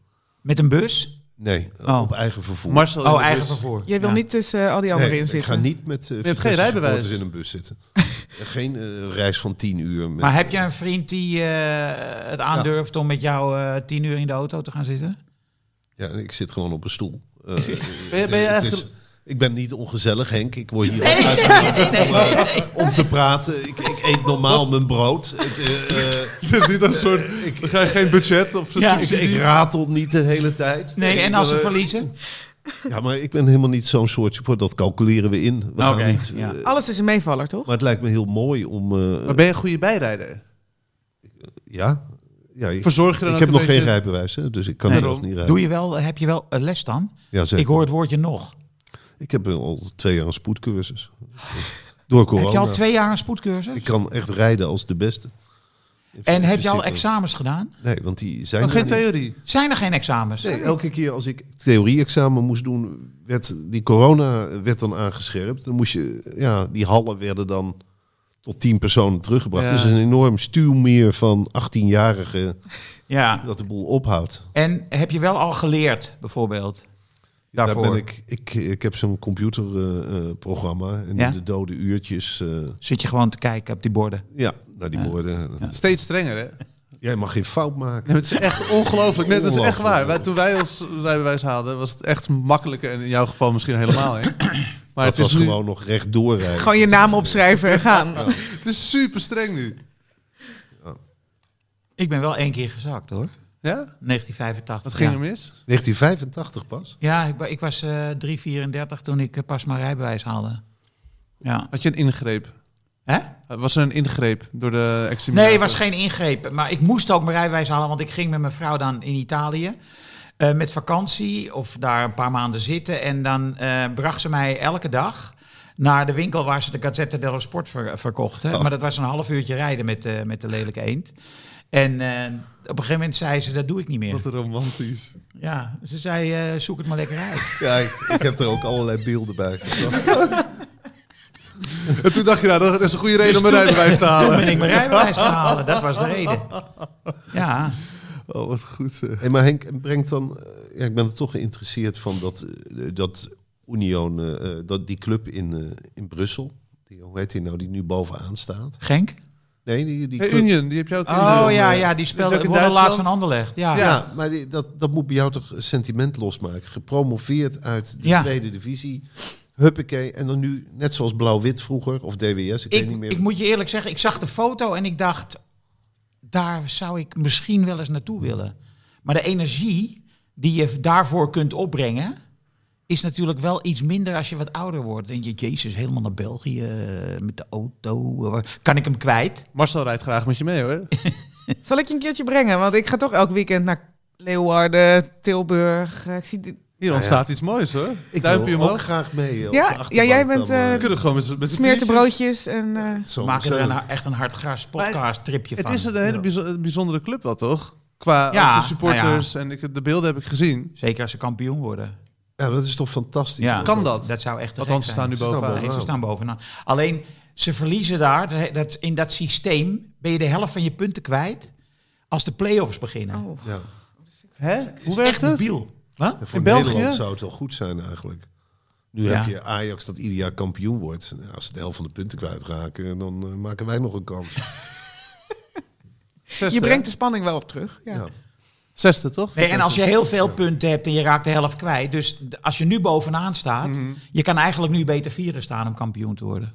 S4: Met een bus?
S6: Nee,
S4: Oh.
S6: op eigen vervoer.
S2: Marcel in
S4: Oh,
S2: de
S4: eigen
S2: bus.
S4: vervoer.
S5: jij wil
S4: Ja.
S5: niet tussen eh, al die anderen
S6: Nee,
S5: in
S6: ik
S5: zitten.
S6: ga niet met uh,
S2: hebt geen rijbewijs.
S6: in een bus zitten. En geen eh, reis van tien uur. Met,
S4: Maar heb je een vriend die eh, het aandurft om met jou eh, tien uur in de auto te gaan zitten?
S6: Ja, ik zit gewoon op een stoel. Eh,
S2: ben je
S6: het- het
S2: eigenlijk-
S6: is- ik ben niet ongezellig, Henk. Ik word hier ook uitgenodigd om, om te praten. Ik, ik eet normaal mijn brood. Het, eh, eh,
S2: Het is niet een soort... Dan ga je geen budget of zo.
S4: Ja.
S6: ik, ik ratel niet de hele tijd.
S4: Nee, en
S6: ik
S4: als ze
S6: ben, eh,
S4: verliezen?
S6: Ja, maar ik ben helemaal niet zo'n soort support. Dat calculeren we in. We
S4: Oké,
S6: gaan niet, eh,
S4: ja.
S5: Alles is een meevaller, toch?
S6: Maar het lijkt me heel mooi om... eh,
S2: Maar ben je een goede bijrijder?
S6: ja, ja ik,
S2: Verzorg je dan
S6: ik
S2: ook
S6: heb
S2: een
S6: nog
S2: beetje-
S6: geen rijbewijs, hè, dus ik kan
S2: Nee.
S6: zelf niet rijden.
S4: Doe je wel, heb je wel eh, les dan?
S6: Ja, zeker.
S4: Ik hoor het woordje nog.
S6: Ik heb al twee jaar een spoedcursus. Door corona.
S4: Heb je al twee jaar een spoedcursus?
S6: Ik kan echt rijden als de beste. In
S4: En heb je al
S6: principe.
S4: examens gedaan?
S6: Nee, want die zijn
S2: Oh,
S6: er
S2: geen
S6: niet.
S2: theorie.
S4: Zijn er geen examens?
S6: Nee, elke keer als ik theorie-examen moest doen, werd die corona werd dan aangescherpt. Dan moest je, ja, die hallen werden dan tot tien personen teruggebracht.
S2: Ja.
S6: Dus een enorm stuwmeer van 18-jarigen
S4: Ja.
S6: dat de boel ophoudt.
S4: En heb je wel al geleerd, bijvoorbeeld? Daarvoor.
S6: Daar ben ik, ik, ik heb zo'n computerprogramma eh, en
S4: Ja?
S6: in de dode uurtjes, eh,
S4: Zit je gewoon te kijken op die borden?
S6: ja, naar die woorden.
S2: Steeds strenger, hè?
S6: Jij mag geen fout maken.
S2: Nee, maar het is echt ongelooflijk. Nee, dat is echt
S6: Ongelooflijk.
S2: waar. Wij- toen wij ons rijbewijs haalden, was het echt makkelijker. En in jouw geval misschien helemaal, hè? Maar
S6: dat
S2: het is,
S6: was
S2: nu,
S6: gewoon nog rechtdoor rijden.
S5: Gewoon je naam opschrijven en gaan.
S2: het is super streng nu.
S4: Ik ben wel één keer gezakt, hoor.
S2: Ja?
S4: 1985.
S2: Wat ging
S4: ja.
S2: er mis?
S6: 1985 pas.
S4: Ja, ik, wa- ik was eh 334 toen ik eh, pas mijn rijbewijs haalde. Ja.
S2: Had je een ingreep?
S4: Hè?
S2: Was er een ingreep door de examinator?
S4: Nee, het was geen ingreep. Maar ik moest ook mijn rijbewijs halen, want ik ging met mijn vrouw dan in Italië. eh, met vakantie of daar een paar maanden zitten. En dan eh, bracht ze mij elke dag naar de winkel waar ze de Gazzetta dello Sport ver- verkochten.
S2: Oh.
S4: Maar dat was een half uurtje rijden met, eh, met de lelijke eend. En eh, op een gegeven moment zei ze, dat doe ik niet meer.
S2: Wat romantisch.
S4: Ja, ze zei, eh, zoek het maar lekker uit.
S6: Ja, ik, ik heb er ook allerlei beelden bij.
S2: En toen dacht je, nou, dat is een goede reden
S4: Dus
S2: om mijn
S4: toen-
S2: rijbewijs te
S4: Toen
S2: halen.
S4: ben ik mijn rijbewijs gaan halen, dat was de reden. Ja,
S2: Oh, wat goed zeg.
S6: Hey, maar Henk, brengt dan... eh, Ja, ik ben er toch geïnteresseerd van dat, eh, dat Union, eh, dat die club in, eh, in Brussel... Die, hoe heet die nou, die nu bovenaan staat?
S4: Genk?
S6: Nee, die, die
S2: Hey,
S6: club-
S2: Union, die heb je ook. in eh,
S4: Oh
S2: de-
S4: ja, ja die
S2: ook
S4: speelde
S2: in
S4: worden laatst
S2: Duitsland?
S4: van Anderlecht. Ah, Ja.
S6: Ja, maar die, dat, dat moet bij jou toch sentiment losmaken. Gepromoveerd uit de
S4: Ja.
S6: tweede divisie. Huppakee. En dan nu, net zoals Blauw-Wit vroeger, of DWS, ik, weet niet
S4: Ik,
S6: meer.
S4: ik moet je eerlijk zeggen, ik zag de foto en ik dacht, daar zou ik misschien wel eens naartoe willen. Maar de energie die je daarvoor kunt opbrengen, is natuurlijk wel iets minder als je wat ouder wordt. Denk je, jezus, helemaal naar België eh, met de auto. eh, Kan ik hem kwijt?
S2: Marcel rijdt graag met je mee, hoor.
S5: Zal ik je een keertje brengen? Want ik ga toch elk weekend naar Leeuwarden, Tilburg. eh, ik zie dit-
S4: Nou
S2: Hier ontstaat iets moois hoor.
S6: Ik
S2: Duimpje
S6: wil ook
S2: omhoog.
S6: graag mee. eh, op de
S5: Ja, ja,
S6: achterbank
S5: jij bent,
S6: dan, maar-
S2: We
S5: eh,
S2: kunnen gewoon met, z'n- met z'n viertjes.
S5: smeertebroodjes en... eh,
S6: Zo-
S4: We maken
S6: zo-
S4: er een, echt een hardgras podcast tripje
S2: Het
S4: van.
S2: is een hele
S6: Ja.
S2: bijzo- bijzondere club wat toch? Qua
S4: Ja,
S2: ook de supporters en ik, de beelden heb ik gezien.
S4: Zeker als ze kampioen worden.
S6: Ja, dat is toch fantastisch.
S4: Ja.
S2: Kan dat?
S4: Dat zou echt te gek
S2: Althans, ze
S4: zijn.
S2: staan nu
S6: staan
S2: bovenaan.
S6: bovenaan.
S4: Nee, ze staan bovenaan. Alleen, ze verliezen daar, dat- dat, in dat systeem, ben je de helft van je punten kwijt als de play-offs beginnen.
S5: oh.
S6: Ja.
S2: Hè?
S4: is
S2: Hoe werkt
S4: echt
S2: het?
S4: Debiel. Huh?
S6: En voor
S2: In België?
S6: Nederland zou het wel goed zijn eigenlijk. Nu
S4: Ja.
S6: heb je Ajax dat ieder jaar kampioen wordt. Nou, als ze de helft van de punten kwijtraken, dan eh, maken wij nog een kans.
S5: Je
S2: Zesde,
S5: brengt de spanning wel op terug. Ja.
S6: Ja.
S2: hè? Zesde toch?
S4: Nee, en als je heel veel punten hebt en je raakt de helft kwijt, dus d- als je nu bovenaan staat,
S2: Mhm.
S4: je kan eigenlijk nu beter vieren staan om kampioen te worden.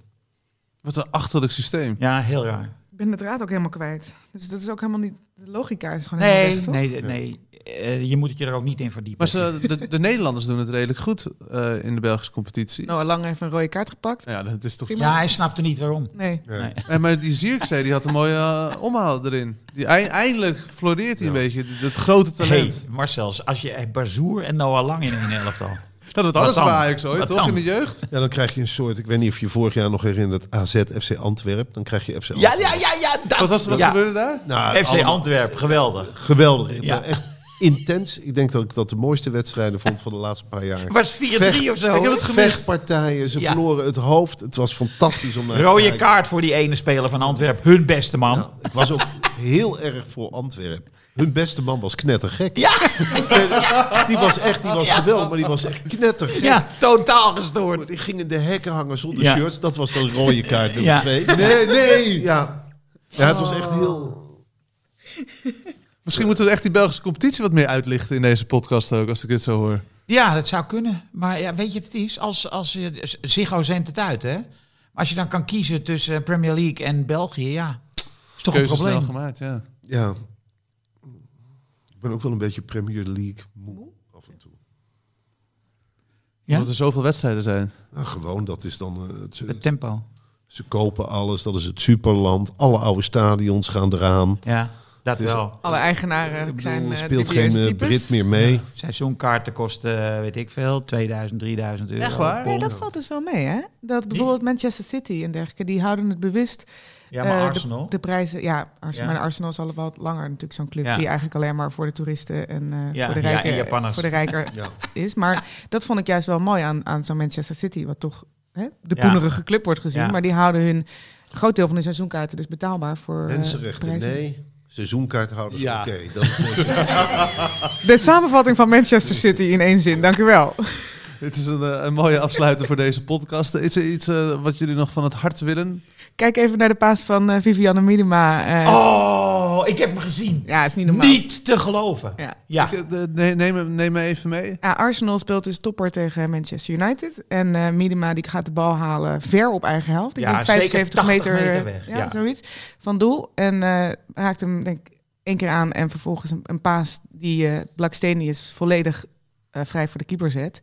S2: Wat een achterlijk systeem.
S4: Ja, heel raar.
S5: Ik ben de draad ook helemaal kwijt. Dus dat is ook helemaal niet... De logica is gewoon helemaal
S4: Nee,
S5: weg, toch?
S4: nee, nee. Eh, je moet het je er ook niet in verdiepen.
S2: Maar ze, de, de Nederlanders doen het redelijk goed eh, in de Belgische competitie.
S4: Nou.
S5: Noah Nou, Lang heeft een rode kaart gepakt.
S2: Ja, dat is toch...
S5: Prima.
S4: Ja, hij snapte niet waarom.
S5: Nee.
S6: Ja.
S4: Nee.
S2: Eh, maar die Zierkzee, die had een mooie eh, omhaal erin. Die, ei- eindelijk floreert hij
S6: Ja.
S2: een beetje, dat grote talent.
S4: Hey, Marcels, als je eh, Bazoer en Noah Lang in een elftal.
S2: Nou, dat hadden ze
S4: Wat
S2: bij
S4: dan?
S2: Ajax ooit,
S4: Wat
S2: toch?
S4: dan?
S2: In de jeugd.
S6: Ja, dan krijg je een soort, ik weet niet of je vorig jaar nog herinnert, AZ FC Antwerp. Dan krijg je FC
S4: Ja,
S6: Antwerp.
S4: ja, ja, ja. Dat,
S2: Wat, was, wat
S4: ja.
S2: gebeurde daar?
S6: Nou,
S4: FC
S6: allemaal
S4: Antwerpen, geweldig.
S6: geweldig. Ik
S4: Ja.
S6: ben Echt intens. Ik denk dat ik dat de mooiste wedstrijden vond van de laatste paar
S4: Het
S6: jaar.
S4: was 4-3 of zo.
S2: Ik heb het gemist.
S6: Vechtpartijen, ze
S4: Ja.
S6: verloren het hoofd. Het was fantastisch om naar te
S4: Rode
S6: kijken.
S4: kaart voor die ene speler van Antwerpen. Hun beste man.
S6: Ja, ik was ook heel erg voor Antwerpen. Hun beste man was knettergek.
S4: Ja.
S6: Die was echt, die was geweldig, maar die was echt knettergek.
S4: Ja, totaal gestoord.
S6: Die ging in de hekken hangen zonder
S4: Ja.
S6: shirts. Dat was dan rode kaart nummer
S4: Ja.
S6: twee. Nee, nee. Ja. ja, het was echt heel...
S4: eh,
S2: Misschien moeten we echt die Belgische competitie wat meer uitlichten in deze podcast ook, als ik dit zo hoor.
S4: Ja, dat zou kunnen. Maar ja, weet je wat het is? Als, als je, Ziggo zendt het uit, hè? Als je dan kan kiezen tussen Premier League en België, ja. Is toch
S2: Keuze
S4: een
S2: snel
S4: probleem.
S2: gemaakt, ja.
S6: Ja. Ik ben ook wel een beetje Premier League moe af en toe.
S4: Ja?
S2: Omdat er zoveel wedstrijden zijn.
S6: Nou, gewoon, dat is dan... eh, het-
S4: Het tempo.
S6: ze kopen alles, dat is het superland. Alle oude stadions gaan eraan.
S4: Ja, dat
S6: Het is-
S4: wel.
S5: Alle eigenaren
S6: Ik
S5: zijn
S6: bedoel, er
S5: eh,
S6: speelt geen
S5: dubieuze
S6: eh,
S5: types.
S6: Brit meer mee.
S4: Seizoenkaarten kosten, eh, weet ik veel, 2000, 3000 euro.
S2: Echt waar?
S5: Nee, dat valt dus wel mee, hè? Dat bijvoorbeeld Manchester City en dergelijke, die houden het bewust.
S4: Ja, maar
S5: eh, de-
S4: Arsenal.
S5: De, prijzen, ja, Arsenal,
S4: Ja.
S5: maar Arsenal is al wat langer natuurlijk zo'n club
S4: Ja.
S5: die eigenlijk alleen maar voor de toeristen en eh,
S4: Ja,
S5: voor de
S4: ja,
S5: rijken
S4: en Japanners.
S5: voor de rijker
S6: Ja.
S5: is. Maar dat vond ik juist wel mooi aan, aan zo'n Manchester City, wat toch hè, de
S4: Ja.
S5: poenerige club wordt gezien.
S4: Ja.
S5: Maar die houden hun een groot deel van hun seizoenkaarten dus betaalbaar voor. eh,
S6: Mensenrechten,
S5: prijzen.
S6: nee. Seizoenkaarthouders,
S2: Ja.
S6: oké. Dat is mooi.
S5: De samenvatting van Manchester City in één zin, dank u wel.
S2: Dit is een, eh, een mooie afsluiter voor deze podcast. Is er iets eh, wat jullie nog van het hart willen?
S5: Kijk even naar de paas van eh, Vivianne Miedema. eh,
S4: Oh, ik heb hem gezien.
S5: Ja, is niet normaal.
S4: Niet te geloven.
S5: Ja.
S4: Ja.
S2: Ik, eh, de- ne- neem, hem- neem me even mee.
S5: Ja, Arsenal speelt dus topper tegen Manchester United. En eh Miedema die gaat de bal halen ver op eigen helft. Ik
S4: Ja,
S5: denk
S4: zeker
S5: 75
S4: 80
S5: meter,
S4: meter
S5: eh,
S4: weg,
S5: Ja,
S4: ja.
S5: zoiets van doel. En eh, raakt hem denk ik één keer aan. En vervolgens een, een paas die eh Blackstenius volledig eh, vrij voor de keeper zet.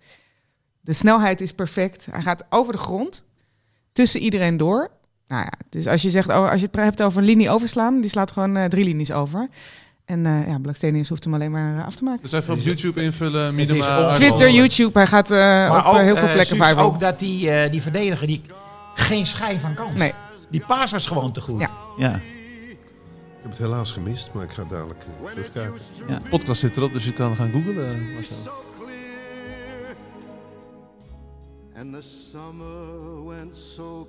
S5: De snelheid is perfect. Hij gaat over de grond, tussen iedereen door. Nou ja, dus als je, zegt, oh, als je het hebt over een linie overslaan, die slaat gewoon eh, drie linies over. En eh ja, Blackstenius hoeft hem alleen maar eh, af te maken.
S2: Dus even op YouTube invullen.
S4: is
S2: Miedema,
S4: on-
S2: Arnold.
S5: Twitter, YouTube, hij gaat eh, op eh, heel veel
S4: eh,
S5: plekken
S4: Suus,
S5: viral.
S4: ook dat die, eh, die verdediger die geen schijn van kans.
S5: Nee.
S4: Die paas was gewoon te goed.
S5: Ja.
S4: ja.
S6: Ik heb het helaas gemist, maar ik ga dadelijk eh, terugkijken.
S2: De podcast zit erop, dus je kan gaan googlen. eh, Marcel.
S3: so clear. And the summer went so